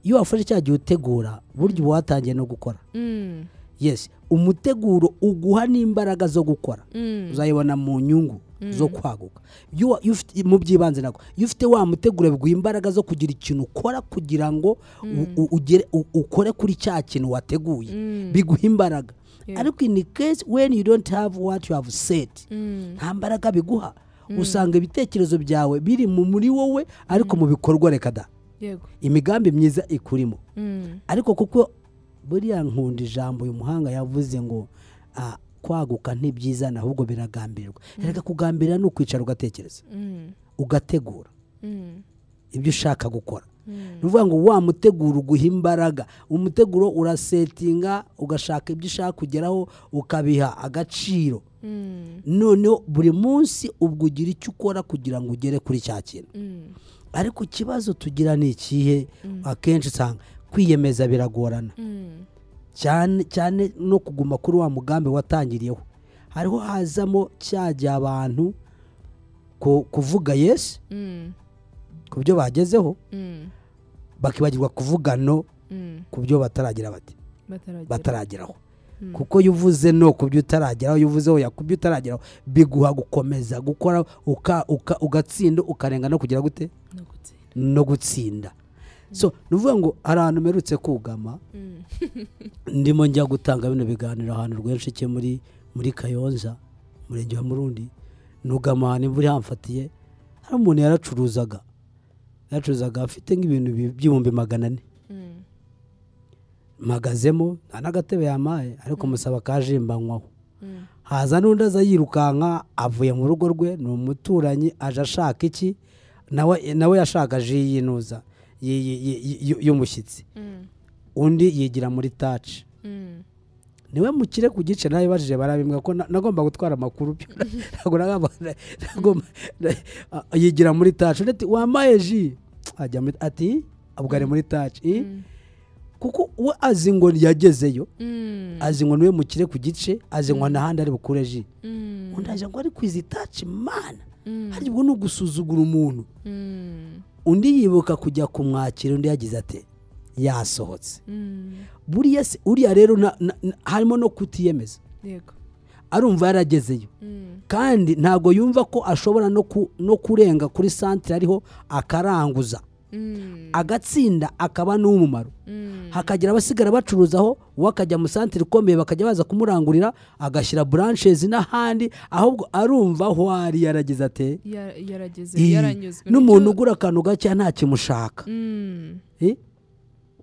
Speaker 2: iyo wafashe cya gihe utegura burya uba watangiye no gukora
Speaker 1: mm,
Speaker 2: yes umuteguro uguha n'imbaraga zo gukora
Speaker 1: mm,
Speaker 2: uzayibona mu nyungu zo kwaguka Iyo wa- iyo ufite- mu by'ibanze nako iyo ufite wa muteguro biguha imbaraga zo kugira ikintu ukora kugira ngo u- u- ugere- u- ukore kuri cya kintu wateguye
Speaker 1: Mm.
Speaker 2: biguha imbaraga
Speaker 1: Yeah.
Speaker 2: ariko in the case when you don't have what you have said
Speaker 1: mm,
Speaker 2: nta mbaraga biguha usanga ibitekerezo byawe biri mu muri wowe ariko
Speaker 1: Mm.
Speaker 2: mu bikorwa reka da
Speaker 1: yego
Speaker 2: imigambi myiza ikurimo
Speaker 1: mm,
Speaker 2: ariko kuko buriya nkunda ijambo uyu muhanga yavuze ngo ah, kwaguka ntibyizana ahubwo biragambirwa reka kugambirira ni ukwicara ugatekereza
Speaker 1: mm,
Speaker 2: ugategura
Speaker 1: mm,
Speaker 2: ibyo ushaka gukora
Speaker 1: Mm.
Speaker 2: ni ukuvuga ngo wa muteguro uguha imbaraga umuteguro urasetinga ugashaka ibyo ushaka kugeraho ukabiha agaciro
Speaker 1: mm,
Speaker 2: noneho buri munsi ubwo ugira icyo ukora kugira ngo ugere kuri cya kintu
Speaker 1: mm,
Speaker 2: ariko ikibazo tugira ni ikihe akenshi usanga kwiyemeza biragorana
Speaker 1: mm,
Speaker 2: cyane cyane no kuguma kuri wa mugambi watangiriyeho hariho hazamo cyajya abantu ku- kuvuga yesi
Speaker 1: mm,
Speaker 2: ku byo bagezeho
Speaker 1: mm,
Speaker 2: bakibagirwa kuvuga no
Speaker 1: mm,
Speaker 2: ku byo bataragira bati
Speaker 1: bataragera.
Speaker 2: batarageraho
Speaker 1: Mm.
Speaker 2: kuko iyo uvuze no ku byo utarageraho iyo uvuze oya ku byo utarageraho biguha gukomeza gukora uka- uka- ugatsinda ukarenga no kugira gute
Speaker 1: No gutsinda.
Speaker 2: no gutsinda so ni ukuvuga ngo hari ahantu mperutse kugama
Speaker 1: Mm,
Speaker 2: ndimo njya gutanga bino biganiro ahantu rwinshi cye muri muri kayonza umurenge wa murundi nugama ahantu imvura ihamfatiye hari umuntu yaracuruzaga yaracuruzaga afite nk'ibintu bi- by'ibihumbi magana ane
Speaker 1: mm,
Speaker 2: mpagazemo nta n'agatebe yamaye ariko musaba kajimbanywaho
Speaker 1: mm,
Speaker 2: haza n'undi aza yirukanka avuye mu rugo rwe ni umuturanyi aje ashaka iki nawe nawe yashaka ji yinuza y- y- y- y- y'umushyitsi
Speaker 1: mm,
Speaker 2: undi yigira muri taci
Speaker 1: mm,
Speaker 2: niwe mukire ku gice nabibajije barabimbwa ko na- nagomba gutwara amakuru byo ntabwo nagomba- nagomba- na- a- yigira muri taci undi ati wambaye ji ajya muri ati ubwo ari muri taci i?" kuko we azi ngo yagezeyo
Speaker 1: mm,
Speaker 2: azi ngo niwe mukire ku gice azi ngo n'ahandi ari bukure ji
Speaker 1: mm,
Speaker 2: undi aje ngo ari kwizitaci mana
Speaker 1: mm,
Speaker 2: harya ubwo ni ugusuzugura umuntu
Speaker 1: mm,
Speaker 2: undi yibuka kujya kumwakira undi yagize ati yasohotse
Speaker 1: mm,
Speaker 2: buriya se uriya rero na- na- na- harimo no kutiyemeza
Speaker 1: yego
Speaker 2: arumva yaragezeyo
Speaker 1: Mm,
Speaker 2: kandi ntabwo yumva ko ashobora no ku- no kurenga kuri santire ariho akaranguza
Speaker 1: mm,
Speaker 2: agatsinda akaba n'uw'umumaro
Speaker 1: mm,
Speaker 2: hakagira abasigara bacuruzaho we akajya mu santire ikomeye bakajya baza kumurangurira agashyira branches n'ahandi ahubwo arumva aho ari yaragize ate
Speaker 1: ya- yarageze
Speaker 2: Iyi,
Speaker 1: yaranyuzwe
Speaker 2: n'umuntu
Speaker 1: n'icyo-
Speaker 2: ugura akantu gake nta kimushaka
Speaker 1: Mm,
Speaker 2: Eh?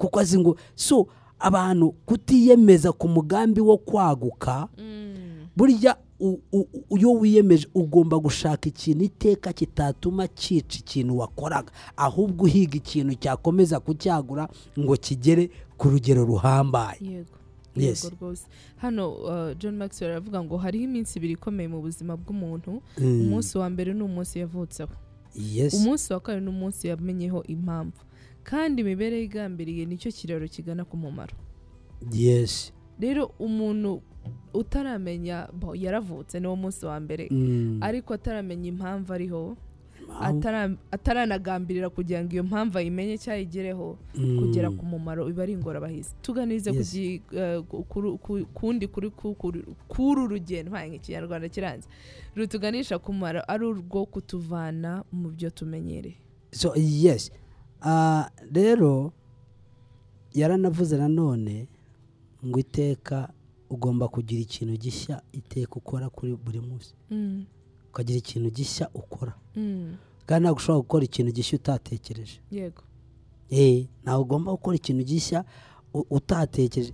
Speaker 2: kuko azi ngo so abantu kutiyemeza ku mugambi wo kwaguka
Speaker 1: mm,
Speaker 2: burya u- u- u- iyo wiyemeje ugomba gushaka ikintu iteka kitatuma cyica ikintu wakoraga ahubwo uhiga ikintu cyakomeza kucyagura ngo kigere ku rugero ruhambaye
Speaker 1: yego
Speaker 2: Yes.
Speaker 1: rwego rwose hano uh, john maxwell aravuga ngo hariho iminsi ibiri ikomeye mu buzima bw'umuntu
Speaker 2: Mm.
Speaker 1: umunsi wa mbere ni umunsi yavutseho
Speaker 2: yes
Speaker 1: umunsi wa kabiri ni umunsi yamenyeho impamvu kandi imibereho igambiriye nicyo kiraro kigana ku mumaro
Speaker 2: yes
Speaker 1: rero umuntu utaramenya bo yaravutse niwo munsi wa mbere
Speaker 2: Mm.
Speaker 1: ariko ataramenya impamvu ariho
Speaker 2: Impamvu.
Speaker 1: atara- ataranagambirira kugira ngo iyo mpamvu ayimenye cyangwa ayigereho
Speaker 2: Mm.
Speaker 1: kugera ku mumaro biba ari ingorabahizi tuganirize ku
Speaker 2: Yes.
Speaker 1: gi- eh, ku- kuru- ku- kundi kuri ku- kuru- kuru rugendo nka ikinyarwanda kiranze rutuganisha ku mumaro ari urwo kutuvana mu byo tumenyereye
Speaker 2: so yes Ah, rero yaranavuze nanone ngo iteka ugomba kugira ikintu gishya iteka ukora kuri buri munsi
Speaker 1: Mm,
Speaker 2: ukagira ikintu gishya ukora
Speaker 1: mm,
Speaker 2: kandi ntabwo ushobora gukora ikintu gishya utatekereje
Speaker 1: yego
Speaker 2: Eh, ntabwo ugomba gukora ikintu gishya u- utatekereje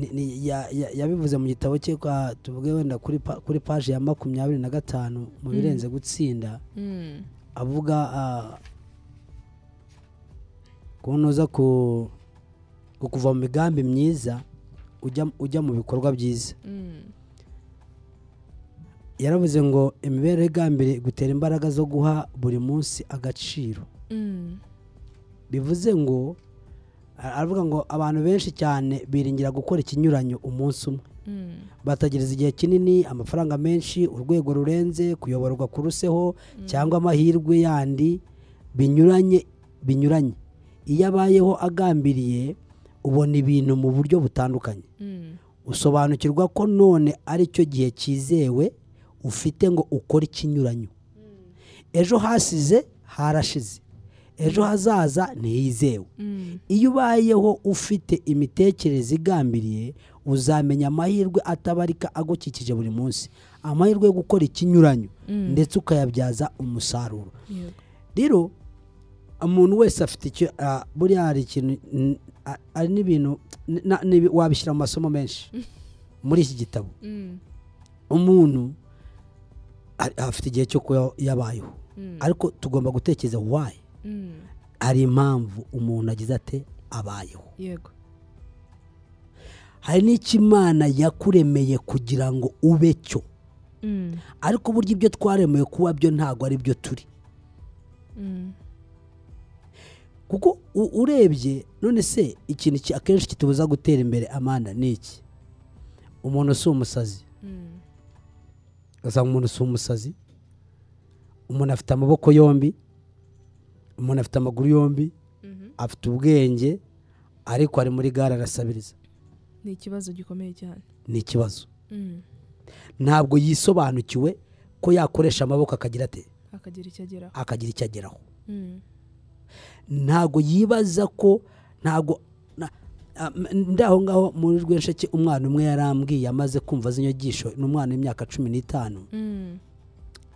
Speaker 2: Ni- ni- ya- ya- yabivuze mu gitabo cye kwa- tuvuge wenda kuri pa- kuri paji ya makumyabiri na gatanu mu birenze gutsinda
Speaker 1: Mm,
Speaker 2: avuga ah, kunoza ku ku kuva mu migambi myiza ujya ujya mu bikorwa byiza
Speaker 1: mm,
Speaker 2: yaravuze ngo imibereho igambiriye gutera imbaraga zo guha buri munsi agaciro
Speaker 1: mm,
Speaker 2: bivuze ngo a- aravuga ngo abantu benshi cyane biringira gukora ikinyuranyo umunsi umwe
Speaker 1: mm,
Speaker 2: batagereza igihe kinini amafaranga menshi urwego rurenze kuyoborwa kuruseho cyangwa amahirwe yandi binyuranye binyuranye iyo abayeho agambiriye ubona ibintu mu buryo butandukanye
Speaker 1: mm,
Speaker 2: usobanukirwa ko none ari cyo gihe cyizewe ufite ngo ukore
Speaker 1: Mm.
Speaker 2: ikinyuranyo ejo hasize harashize ejo hazaza ntihizewe
Speaker 1: mm,
Speaker 2: iyo ubayeho ufite imitekerereze igambiriye uzamenya amahirwe atabarika agukikije buri munsi amahirwe yo gukora ikinyuranyo ndetse ukayabyaza umusaruro
Speaker 1: Mm. yego
Speaker 2: rero umuntu wese afite icyo ah, buriya hari ikintu n- ah, hari n'ibintu n- na- n'ibi- wabishyira mu masomo menshi muri iki gitabo
Speaker 1: Mm,
Speaker 2: umuntu ari- afite igihe cyo kuba yabayeho
Speaker 1: Mm.
Speaker 2: ariko tugomba gutekereza wayi
Speaker 1: mm,
Speaker 2: hari impamvu umuntu agize ate abayeho
Speaker 1: yego
Speaker 2: hari n'icyo imana yakuremeye kugira ngo ube cyo
Speaker 1: Mm,
Speaker 2: ariko burya ibyo twaremeye kuba byo ntabwo ari byo turi
Speaker 1: mm,
Speaker 2: kuko u- urebye none se ikintu ki- akenshi kitubuza gutera imbere amanda ni iki umuntu si umusazi
Speaker 1: mm,
Speaker 2: ugasanga umuntu si umusazi umuntu afite amaboko yombi umuntu afite amaguru yombi
Speaker 1: mhm.
Speaker 2: afite ubwenge ariko ari muri gare arasabiriza
Speaker 1: ni ikibazo gikomeye cyane
Speaker 2: ni ikibazo
Speaker 1: Mm,
Speaker 2: ntabwo yisobanukiwe ko yakoresha amaboko akagira ate
Speaker 1: akagira icyo ageraho
Speaker 2: akagira icyo ageraho
Speaker 1: Ah. Mm,
Speaker 2: ntabwo yibaza ko ntabwo na- ah, m- ndaho ngaho muri rwensheke umwana umwe yarambwiye amaze kumva z'inyogisho ni umwana w'imyaka cumi n'itanu
Speaker 1: mm,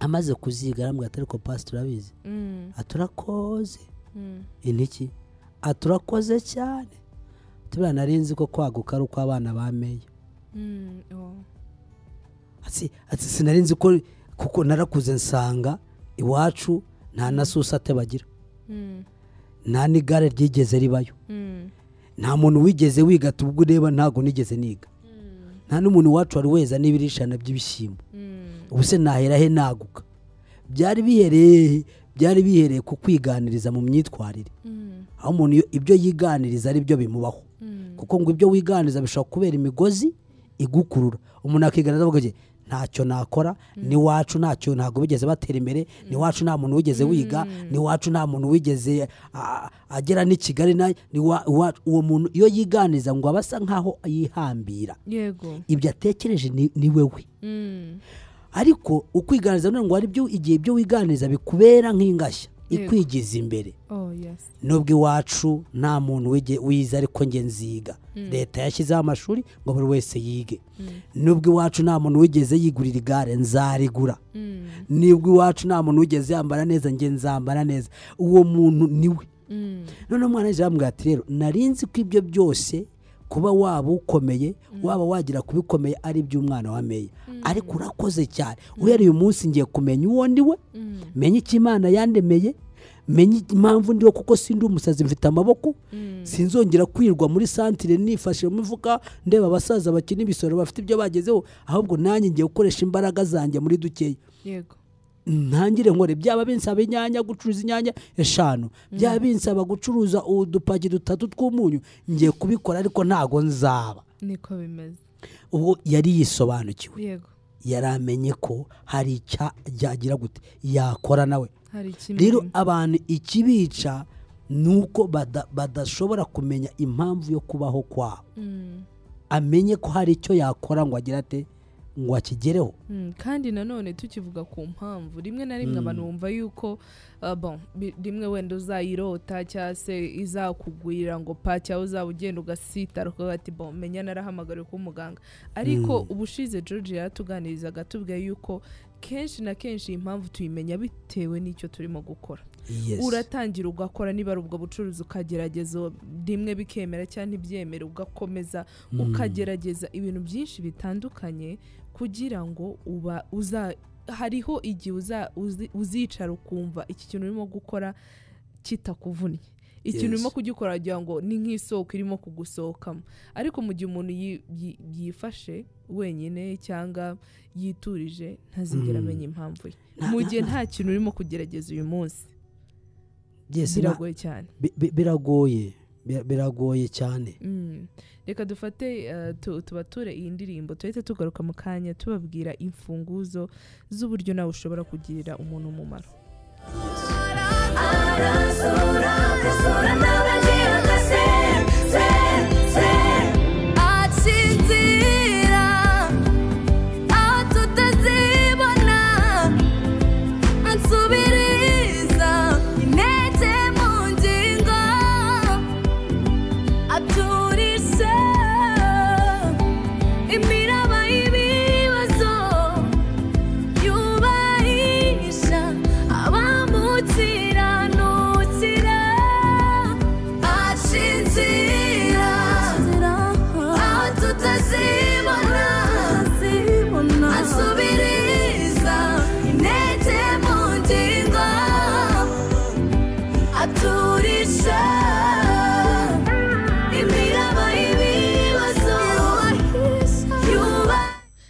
Speaker 2: amaze kuziga arambwira ati ariko pasi turabizi
Speaker 1: mm,
Speaker 2: aturakoze
Speaker 1: mm,
Speaker 2: intiki aturakoze cyane turiya nari nzi ko kwaguka ari uko abana bameye
Speaker 1: mm, oh,
Speaker 2: Ati- ati sinari nzi ko kuko narakuze nsanga iwacu nta na susate bagira
Speaker 1: mm,
Speaker 2: nta n'igare ryigeze ribayo
Speaker 1: mm,
Speaker 2: nta muntu wigeze wiga tubwo ureba ntabwo nigeze niga nta n'umuntu iwacu wari weza n'ibirishana by'ibishyimbo
Speaker 1: mm,
Speaker 2: ubu se nahera he naguka byari bihereye he? byari bihereye ku kwiganiriza mu myitwarire
Speaker 1: mm,
Speaker 2: aho umuntu iyo- ibyo yiganiriza ari byo bimubaho
Speaker 1: mm,
Speaker 2: kuko ngo ibyo wiganiriza bishobora kubera imigozi igukurura umuntu akiganiriza avuga ati ntacyo nakora
Speaker 1: Mm.
Speaker 2: n'iwacu ntacyo ntabwo bigeze batera imbere n'iwacu nta muntu wigeze wiga
Speaker 1: Mm.
Speaker 2: n'iwacu nta muntu wigeze a- agera n'i kigali na- n'iwa- iwa- uwo muntu iyo yiganiriza ngo aba asa nkaho yihambira
Speaker 1: yego
Speaker 2: ibyo atekereje ni- ni wewe
Speaker 1: Mm,
Speaker 2: ariko ukwiganiriza none ngo hari ibyo igihe ibyo wiganiriza bikubera nk'ingashya
Speaker 1: Yego.
Speaker 2: ikwigiza imbere
Speaker 1: oh yes
Speaker 2: nubwo iwacu nta muntu wige- wize ariko njye nziga leta yashyizeho amashuri ngo buri wese yige nubwo iwacu nta muntu wigeze yigurira igare nzarigura
Speaker 1: Mm,
Speaker 2: nibwo iwacu nta muntu wigeze yambara neza njye nzambara neza uwo muntu niwe
Speaker 1: mm,
Speaker 2: none umwana wese aramubwira ati rero nari nzi ko ibyo byose kuba waba ukomeye waba wagira ku bikomeye ari iby'umwana wa meya ariko urakoze cyane uhereye umunsi ngiye kumenya uwo ndi we
Speaker 1: mm,
Speaker 2: menya icyo imana yandemeye menye impamvu ndiho kuko sindi umusazi mfite amaboko sinzongera kwirwa muri santire nifashe mu mifuka ndeba abasaza bakina ibisoro bafite ibyo bagezeho ahubwo nanjye ngiye gukoresha imbaraga zanjye muri dukeya
Speaker 1: yego
Speaker 2: ntangire nkore byaba binsaba inyanya gucuruza inyanya eshanu byaba binsaba gucuruza udupaki dutatu tw'umunyu ngiye kubikora ariko ntago nzaba
Speaker 1: niko bimeze
Speaker 2: ubwo yari yisobanukiwe
Speaker 1: yego
Speaker 2: yari amenye ko hari icya yagira gute yakora nawe
Speaker 1: hari ikindi
Speaker 2: rero abantu ikibica ni uko bada- badashobora kumenya impamvu yo kubaho kwabo
Speaker 1: Mm.
Speaker 2: amenye ko hari icyo yakora ngo agire ate ngo akigereho
Speaker 1: Mm, kandi nanone tukivuga ku mpamvu rimwe na rimwe abantu bumva yuko uh, bon, bi- rimwe wenda uzayirota cyangwa se izakugwira ngo pa cyangwa uzaba ugenda ugasitara ukavuga ati bon menya narahamagariwe kuba umuganga ariko ubushize george yaratuganirizaga atubwiye yuko kenshi na kenshi iyi mpamvu tuyimenya bitewe n'icyo turimo gukora
Speaker 2: Yes.
Speaker 1: uratangira ugakora niba ari ubwo bucuruzi ukagerageza rimwe bikemera cyangwa ntibyemere ugakomeza
Speaker 2: Mm.
Speaker 1: ukagerageza ibintu byinshi bitandukanye kugira ngo uba uza hariho igihe uza uzi- uzicara ukumva iki kintu urimo gukora kitakuvunnye ikintu
Speaker 2: Yes.
Speaker 1: urimo kugikora wagira ngo ni nk'isoko irimo kugusohokamo ariko mu gihe umuntu yi- yi- yifashe wenyine cyangwa yiturije ntazigera
Speaker 2: Mm.
Speaker 1: amenya impamvu ye mu gihe nta kintu urimo kugerageza uyu munsi
Speaker 2: Yes, na-
Speaker 1: biragoye cyane
Speaker 2: bi- bi- biragoye Bi- biragoye cyane
Speaker 1: Mm. reka dufate eh, tu- tubature iyi ndirimbo tuhite tugaruka mu kanya tubabwira imfunguzo z'uburyo nawe ushobora kugirira umuntu umumaro
Speaker 4: atsinzira aho tutazibona ansubiriza intege mu ngingo aturisha imiraba y'ibibazo yubahisha abamukiranukira ashinzira aho tutazibona asubiriza intege mu ngingo aturisha imiraba y'ibibazo yubahisha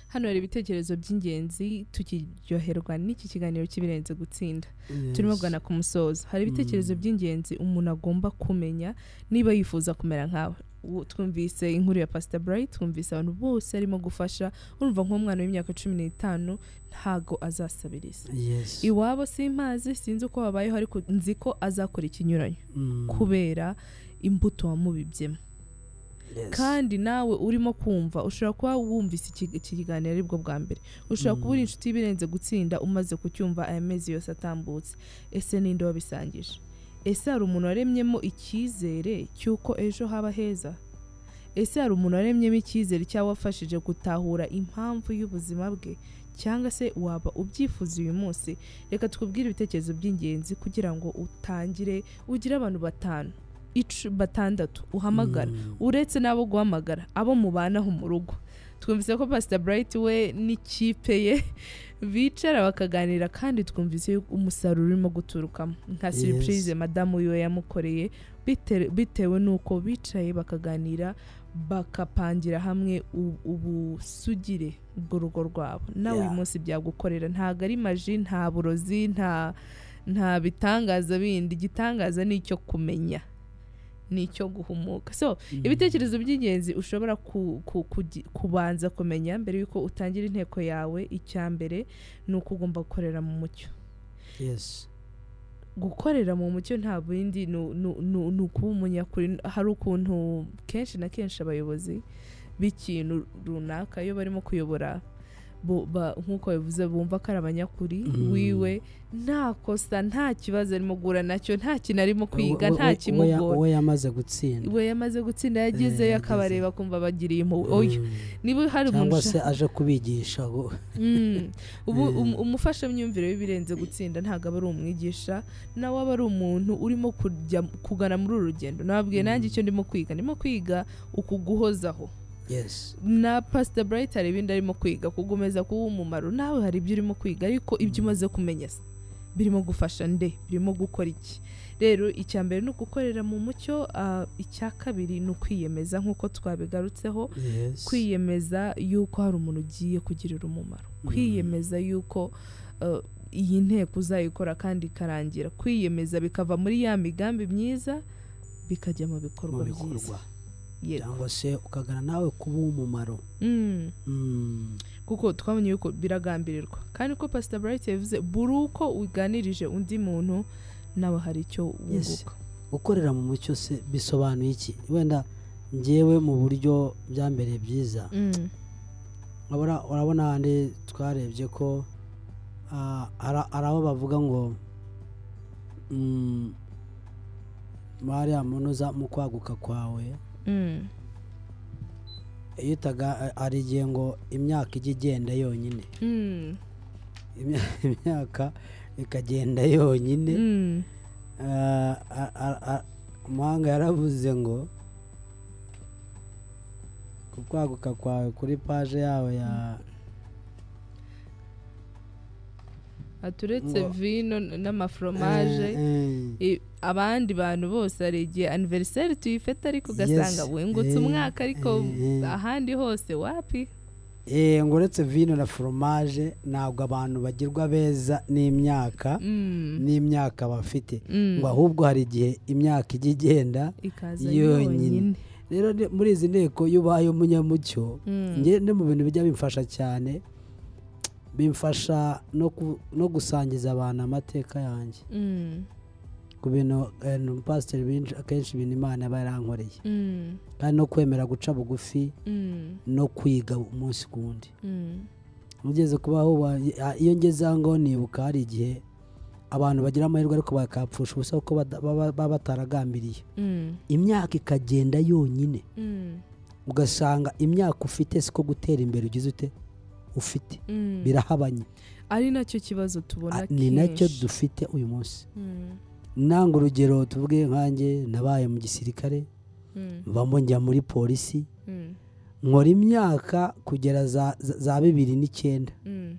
Speaker 1: hano hari ibitekerezo by'ingenzi tukiryoherwa n'iki kiganiro cy'ibirenze gutsinda turimo kugana ku musozo hari ibitekerezo by'ingenzi umuntu agomba kumenya niba yifuza kumera nkawe Ubu twumvise inkuru ya pasita burayiti twumvise abantu bose arimo gufasha urumva nk'umwana w'imyaka cumi n'itanu ntago azasabiriza
Speaker 2: Yes.
Speaker 1: iwabo simpazi sinzi uko babayeho ariko nzi ko azakora ikinyuranyo
Speaker 2: Mm.
Speaker 1: kubera imbuto wamubibyemo
Speaker 2: Yes.
Speaker 1: kandi nawe urimo kumva ushobora kuba wumvise iki iki kiganiro aribwo bwa mbere ushobora kuba uri inshuti y'ibirenze gutsinda umaze kucyumva aya mezi yose atambutse ese ninde wabisangije ese hari umuntu waremyemo icyizere cy'uko ejo haba heza ese hari umuntu waremyemo icyizere cyangwa wafashije gutahura impamvu y'ubuzima bwe cyangwa se waba ubyifuza uyu munsi reka tukubwire ibitekerezo by'ingenzi kugira ngo utangire ugire abantu batanu icu- batandatu uhamagara uretse n'abo guhamagara abo mubanaho mu rugo twumvise ko pasita burayiti we n'ikipe ye bicara bakaganira kandi twumvise yuko umusaruro urimo guturukamo nka
Speaker 2: Yes.
Speaker 1: siripurize madamu wiwe yamukoreye bite- bitewe n'uko bicaye bakaganira bakapangira hamwe u- ubusugire bw'urugo rwabo nawe uyu
Speaker 2: Yeah.
Speaker 1: munsi byagukorera ntabwo ari maji nta burozi nta nta bitangaza bindi igitangaza ni icyo kumenya ni icyo guhumuka so ibitekerezo by'ingenzi ushobora ku- ku- kugi- kubanza kumenya mbere y'uko utangira inteko yawe icya mbere ni uko ugomba gukorera mu mucyo
Speaker 2: Yes.
Speaker 1: gukorera mu mucyo nta bindi ni u- ni u- ni u- ni ukuba umunyakuri hari ukuntu kenshi na kenshi abayobozi b'ikintu runaka iyo barimo kuyobora bo- ba- nk'uko bivuze bumva ko ari abanyakuri
Speaker 2: Mm.
Speaker 1: wiwe nta kosa nta kibazo arimo guhura nacyo nta kintu arimo kwiga
Speaker 2: We- we-
Speaker 1: nta
Speaker 2: we- we ya-
Speaker 1: kimugora
Speaker 2: we yamaze gutsinda
Speaker 1: we yamaze gutsinda yagezeyo
Speaker 2: yagezeyo.
Speaker 1: akabareba akumva bagiriye impuhwe oya
Speaker 2: Mm.
Speaker 1: niba hari umuntu
Speaker 2: cyangwa
Speaker 1: ushaka-
Speaker 2: se aje kubigisha ngo-
Speaker 1: Mm. ubu um- umufashamyumvire w'ibirenze gutsinda ntabwo aba ari umwigisha nawe aba ari umuntu urimo kujya kugana muri uru rugendo nababwiye nanjye icyo ndimo kwiga ndimo kwiga ukuguhozaho
Speaker 2: Yes.
Speaker 1: na pasita burayiti hari ibindi arimo kwiga kugumeza kuba umumaro nawe hari ibyo urimo kwiga ariko ibyo umaze kumenya se birimo gufasha nde birimo gukora iki rero icya mbere ni ugukorera mu mucyo ah, icya kabiri ni ukwiyemeza nk'uko twabigarutseho
Speaker 2: Yes.
Speaker 1: kwiyemeza yuko hari umuntu ugiye kugirira umumaro
Speaker 2: Mm.
Speaker 1: kwiyemeza yuko uh, iyi nteko uzayikora kandi ikarangira kwiyemeza bikava muri ya migambi myiza bikajya mu bikorwa
Speaker 2: mu
Speaker 1: byiza
Speaker 2: bikorwa
Speaker 1: Yego.
Speaker 2: cyangwa se ukagana nawe kuba uw'umumaro
Speaker 1: Mm.
Speaker 2: Mm.
Speaker 1: kuko twabonye yuko biragambirirwa kandi ko pasita burayiti yavuze buri uko uganirije undi muntu nawe hari icyo
Speaker 2: Yes.
Speaker 1: wunguka
Speaker 2: gukorera mu mucyo se bisobanuye iki wenda ngewe mu buryo byambereye byiza
Speaker 1: Mm.
Speaker 2: Urabona- urabona handi twarebye ko ah, ara- hari aho bavuga ngo mm, mariya munoza mu kwaguka kwawe
Speaker 1: Mm.
Speaker 2: iyo utaga hari igihe ngo imyaka ijya igenda yonyine
Speaker 1: Mm.
Speaker 2: Imya- imyaka ikagenda yonyine
Speaker 1: Mm.
Speaker 2: Ah, ah, ah, ah, umuhanga yaravuze ngo ku kwaguka kwawe kuri paje yawe ya
Speaker 1: Ati uretse
Speaker 2: Ngo-
Speaker 1: vino n- n'amaforomaje
Speaker 2: Eh, eh.
Speaker 1: i- abandi bantu bose hari igihe aniveriseri tuyifata ariko
Speaker 2: Yes.
Speaker 1: ugasanga wengutse
Speaker 2: Eh,
Speaker 1: umwaka ariko
Speaker 2: eh, eh.
Speaker 1: ahandi hose wapi
Speaker 2: Eh, ngo uretse vino na foromaje ntabwo abantu bagirwa beza n'imyaka
Speaker 1: Mm.
Speaker 2: n'imyaka bafite
Speaker 1: Mm.
Speaker 2: ngo ahubwo hari igihe imyaka ijya igenda
Speaker 1: ikaza
Speaker 2: yonyine
Speaker 1: yonyine
Speaker 2: rero ni- muri izi nteko iyo ubaye umunyamucyo
Speaker 1: Mm.
Speaker 2: nge ni mu bintu bijya bimfasha cyane bimfasha no ku- no gusangiza abantu amateka yanjye
Speaker 1: Mm.
Speaker 2: ku bintu eh, pasiteri binj- akenshi ibintu imana aba yarankoreye
Speaker 1: Mm.
Speaker 2: kandi no kwemera guca bugufi
Speaker 1: Mm.
Speaker 2: no kwiga umunsi ku wundi
Speaker 1: Mm.
Speaker 2: ugeze kubaho wa- ya- iyo ngeze aho ngaho nibuka hari igihe abantu bagira amahirwe ariko bakapfusha ubusa kuko bada- baba baba bataragambiriye
Speaker 1: Mm.
Speaker 2: imyaka ikagenda yonyine
Speaker 1: Mm.
Speaker 2: ugasanga imyaka ufite siko gutera imbere ugize ute ufite
Speaker 1: Mm.
Speaker 2: birahabanye
Speaker 1: ari nacyo kibazo tubona
Speaker 2: Ah, ni nacyo
Speaker 1: kenshi.
Speaker 2: dufite uyu munsi
Speaker 1: Mm.
Speaker 2: nanga urugero tuvuge nkanjye nabaye mu gisirikare
Speaker 1: Mm.
Speaker 2: mvamo njya muri polisi
Speaker 1: Mm.
Speaker 2: nkora imyaka kugera za- za- za bibiri n'icyenda
Speaker 1: Mm.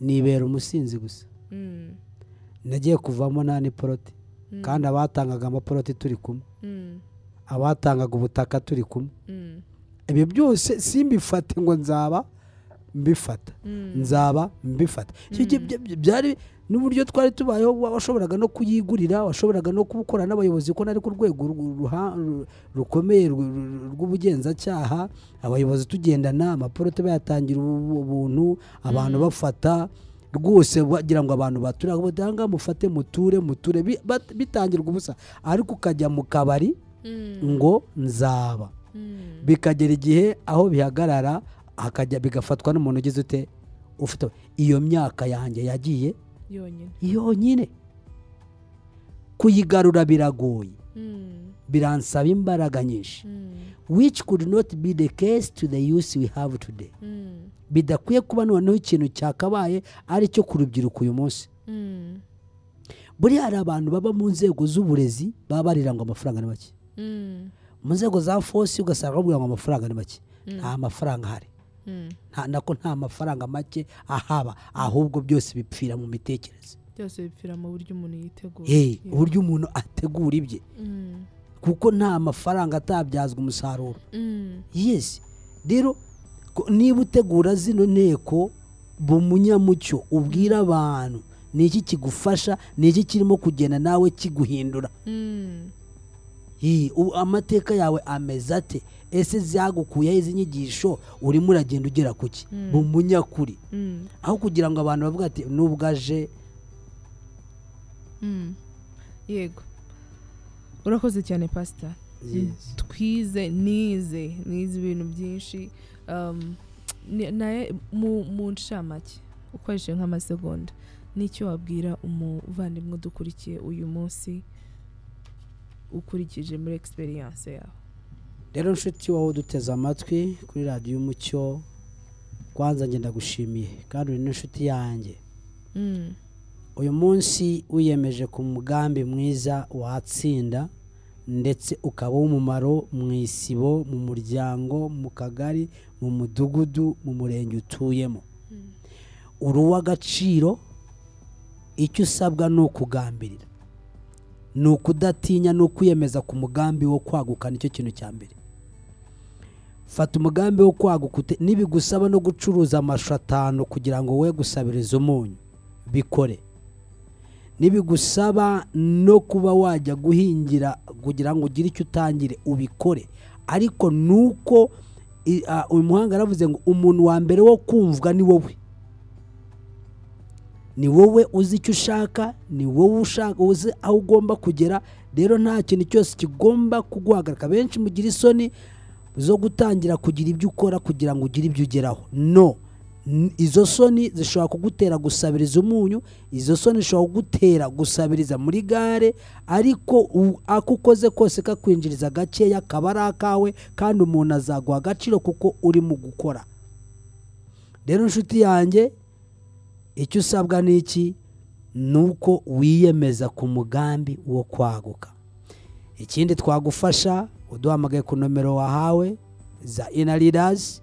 Speaker 2: nibera umusinzi gusa
Speaker 1: Mm.
Speaker 2: nagiye kuvamo nta niporote
Speaker 1: Mm.
Speaker 2: kandi abatangaga amaporoti turi kumwe
Speaker 1: Mm.
Speaker 2: abatangaga ubutaka turi kumwe
Speaker 1: Mm.
Speaker 2: ibyo byose simbifate ngo nzaba mbifata
Speaker 1: Mm.
Speaker 2: nzaba mbifata Icyo gihe bya- bya- byari n'uburyo twari tubayeho wa- washoboraga no kuyigurira washoboraga no kubukorana n'abayobozi kuko nari ku rwego ru- ruha- ru- rukomeye ru- ru- rw'ubugenzacyaha abayobozi tugendana amaporote bayatangira ubu- ubuntu abantu
Speaker 1: Mm.
Speaker 2: bafata rwose bagira ngo abantu bature ahubwo danga mufate muture muture bi- bat- bitangirwa ubusa ariko ukajya mu kabari
Speaker 1: Mm.
Speaker 2: ngo nzaba
Speaker 1: Mm.
Speaker 2: bikagera igihe aho bihagarara hakajya bigafatwa n'umuntu ugize ute ufite iyo myaka yanjye yagiye
Speaker 1: yonyine
Speaker 2: yonyine kuyigarura biragoye
Speaker 1: Mm.
Speaker 2: biransaba imbaraga nyinshi
Speaker 1: Mm.
Speaker 2: which could not be the case to the youth we have today
Speaker 1: Mm.
Speaker 2: bidakwiye kuba noneho ikintu cyakabaye ari cyo ku rubyiruko uyu munsi
Speaker 1: Mm.
Speaker 2: buriya hari abantu baba mu nzego z'uburezi baba barira ngo amafaranga ni make
Speaker 1: Mm.
Speaker 2: mu nzego za fosi ugasanga babwira ngo amafaranga ni make nta mafaranga ahari
Speaker 1: Mm.
Speaker 2: nta- nako nta mafaranga make ahaba ahubwo byose bipfira mu mitekerereze
Speaker 1: byose bipfira mu buryo umuntu yiteguye
Speaker 2: Eh,
Speaker 1: Yeah.
Speaker 2: uburyo umuntu ategura ibye
Speaker 1: Mm.
Speaker 2: kuko nta mafaranga atabyazwa umusaruro
Speaker 1: Mm.
Speaker 2: yesi rero ko- niba utegura zino nteko bu munyamucyo ubwira abantu ni iki kigufasha ni iki kirimo kugenda nawe kiguhindura
Speaker 1: Mm.
Speaker 2: Ii, u- amateka yawe ameze ate ese zagukuyeho izi nyigisho urimo uragenda ugera ku ki mu munyakuri
Speaker 1: Mm.
Speaker 2: aho kugira ngo abantu bavuga ati nubwo aje
Speaker 1: Mm. yego urakoze cyane pasita twize nize nize ibintu byinshi um, ni- naye mu mu ncamake ukoresheje nk'amasegonda n'icyo wabwira umuvandimwe udukurikiye uyu munsi ukurikije muri experience yawe
Speaker 2: rero nshuti wowe uduteze amatwi kuri radiyo y'umucyo kwanza ngenda gushimiye kandi uri n'inshuti yanjye
Speaker 1: Mm,
Speaker 2: uyu munsi wiyemeje ku mugambi mwiza watsinda ndetse ukaba w'umumaro mu isibo mu muryango mu kagari mu mudugudu mu murenge utuyemo uri uw'agaciro icyo usabwa ni ukugambirira ni ukudatinya ni ukwiyemeza ku mugambi wo kwaguka nicyo kintu cya mbere fata umugambi wo kwaguka ute- nibigusaba no gucuruza amashu atanu kugira ngo we gusabirize umunyu bikore nibigusaba no kuba wajya guhingira kugira ngo ugire icyo utangire ubikore ariko nuko i- a, uyu muhanga yaravuze ngo umuntu wa mbere wo kumvwa ni wowe ni wowe uzi icyo ushaka ni wowe ushaka uzi aho ugomba kugera rero nta kintu cyose kigomba kuguhagarika benshi mugira isoni zo gutangira kugira ibyo ukora kugira ngo ugire ibyo ugeraho no N- izo soni zishobora kugutera gusabiriza umunyu izo soni zishobora kugutera gusabiriza muri gare ariko u- ako ukoze kose kakwinjiriza gakeya kaba ari akawe kandi umuntu azaguha agaciro kuko uri mu gukora rero inshuti yanjye icyo usabwa ni iki ni uko wiyemeza ku mugambi wo kwaguka ikindi twagufasha uduhamagaye ku nomero wahawe za inarirazi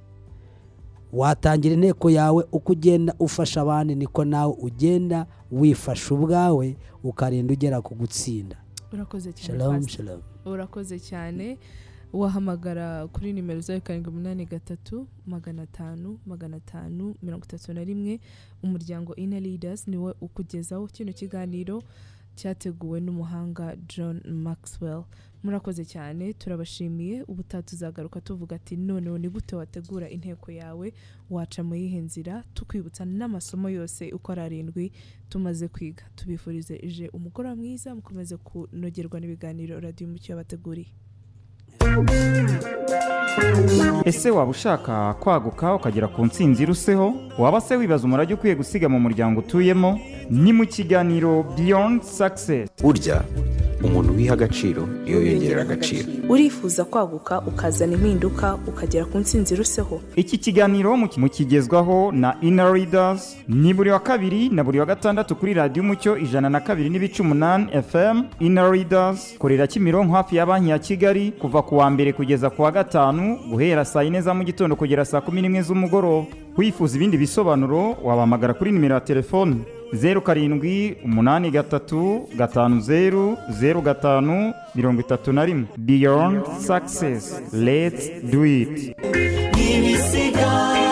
Speaker 2: watangira inteko yawe uko ugenda ufasha abandi niko nawe ugenda wifasha ubwawe ukarinda ugera ku gutsinda
Speaker 1: urakoze cyane
Speaker 2: shalom
Speaker 1: Pastor.
Speaker 2: shalom
Speaker 1: urakoze cyane wahamagara kuri nimero zawe karindwi umunani gatatu magana atanu magana atanu mirongo itatu na rimwe umuryango ina leaders niwe ukugezaho kino kiganiro cyateguwe n'umuhanga john maxwell murakoze cyane turabashimiye ubutaha tuzagaruka tuvuga ati noneho ni gute wategura inteko yawe waca mu yihe nzira tukwibutsa n'amasomo yose uko ari arindwi tumaze kwiga tubifurize ije umugoroba mwiza mukomeze kunogerwa n'ibiganiro radiyo umucyo yabateguriye
Speaker 5: ese waba ushaka kwaguka ukagera ku ntsinzi iruseho waba se wibaza umurage ukwiye gusiga mu muryango utuyemo ni mu kiganiro beyond success
Speaker 6: burya umuntu wiha agaciro iyo yongerera agaciro
Speaker 1: urifuza kwaguka ukazana impinduka ukagera ku ntsinzi iruseho
Speaker 5: iki kiganiro mu- mukigezwaho na inner readers ni buri wa kabiri na buri wa gatandatu kuri radiyo umucyo ijana na kabiri n'ibice umunani fm inner readers korera kimironko hafi ya banki ya kigali kuva ku wa mbere kugeza ku wa gatanu guhera saa yine za mu gitondo kugera saa kumi n'imwe z'umugoroba wifuza ibindi bisobanuro wabahamagara kuri nimero ya telefoni zeru karindwi umunani gatatu gatanu zeru zeru gatanu mirongo itatu na rimwe beyond success let's do it
Speaker 3: ibisiga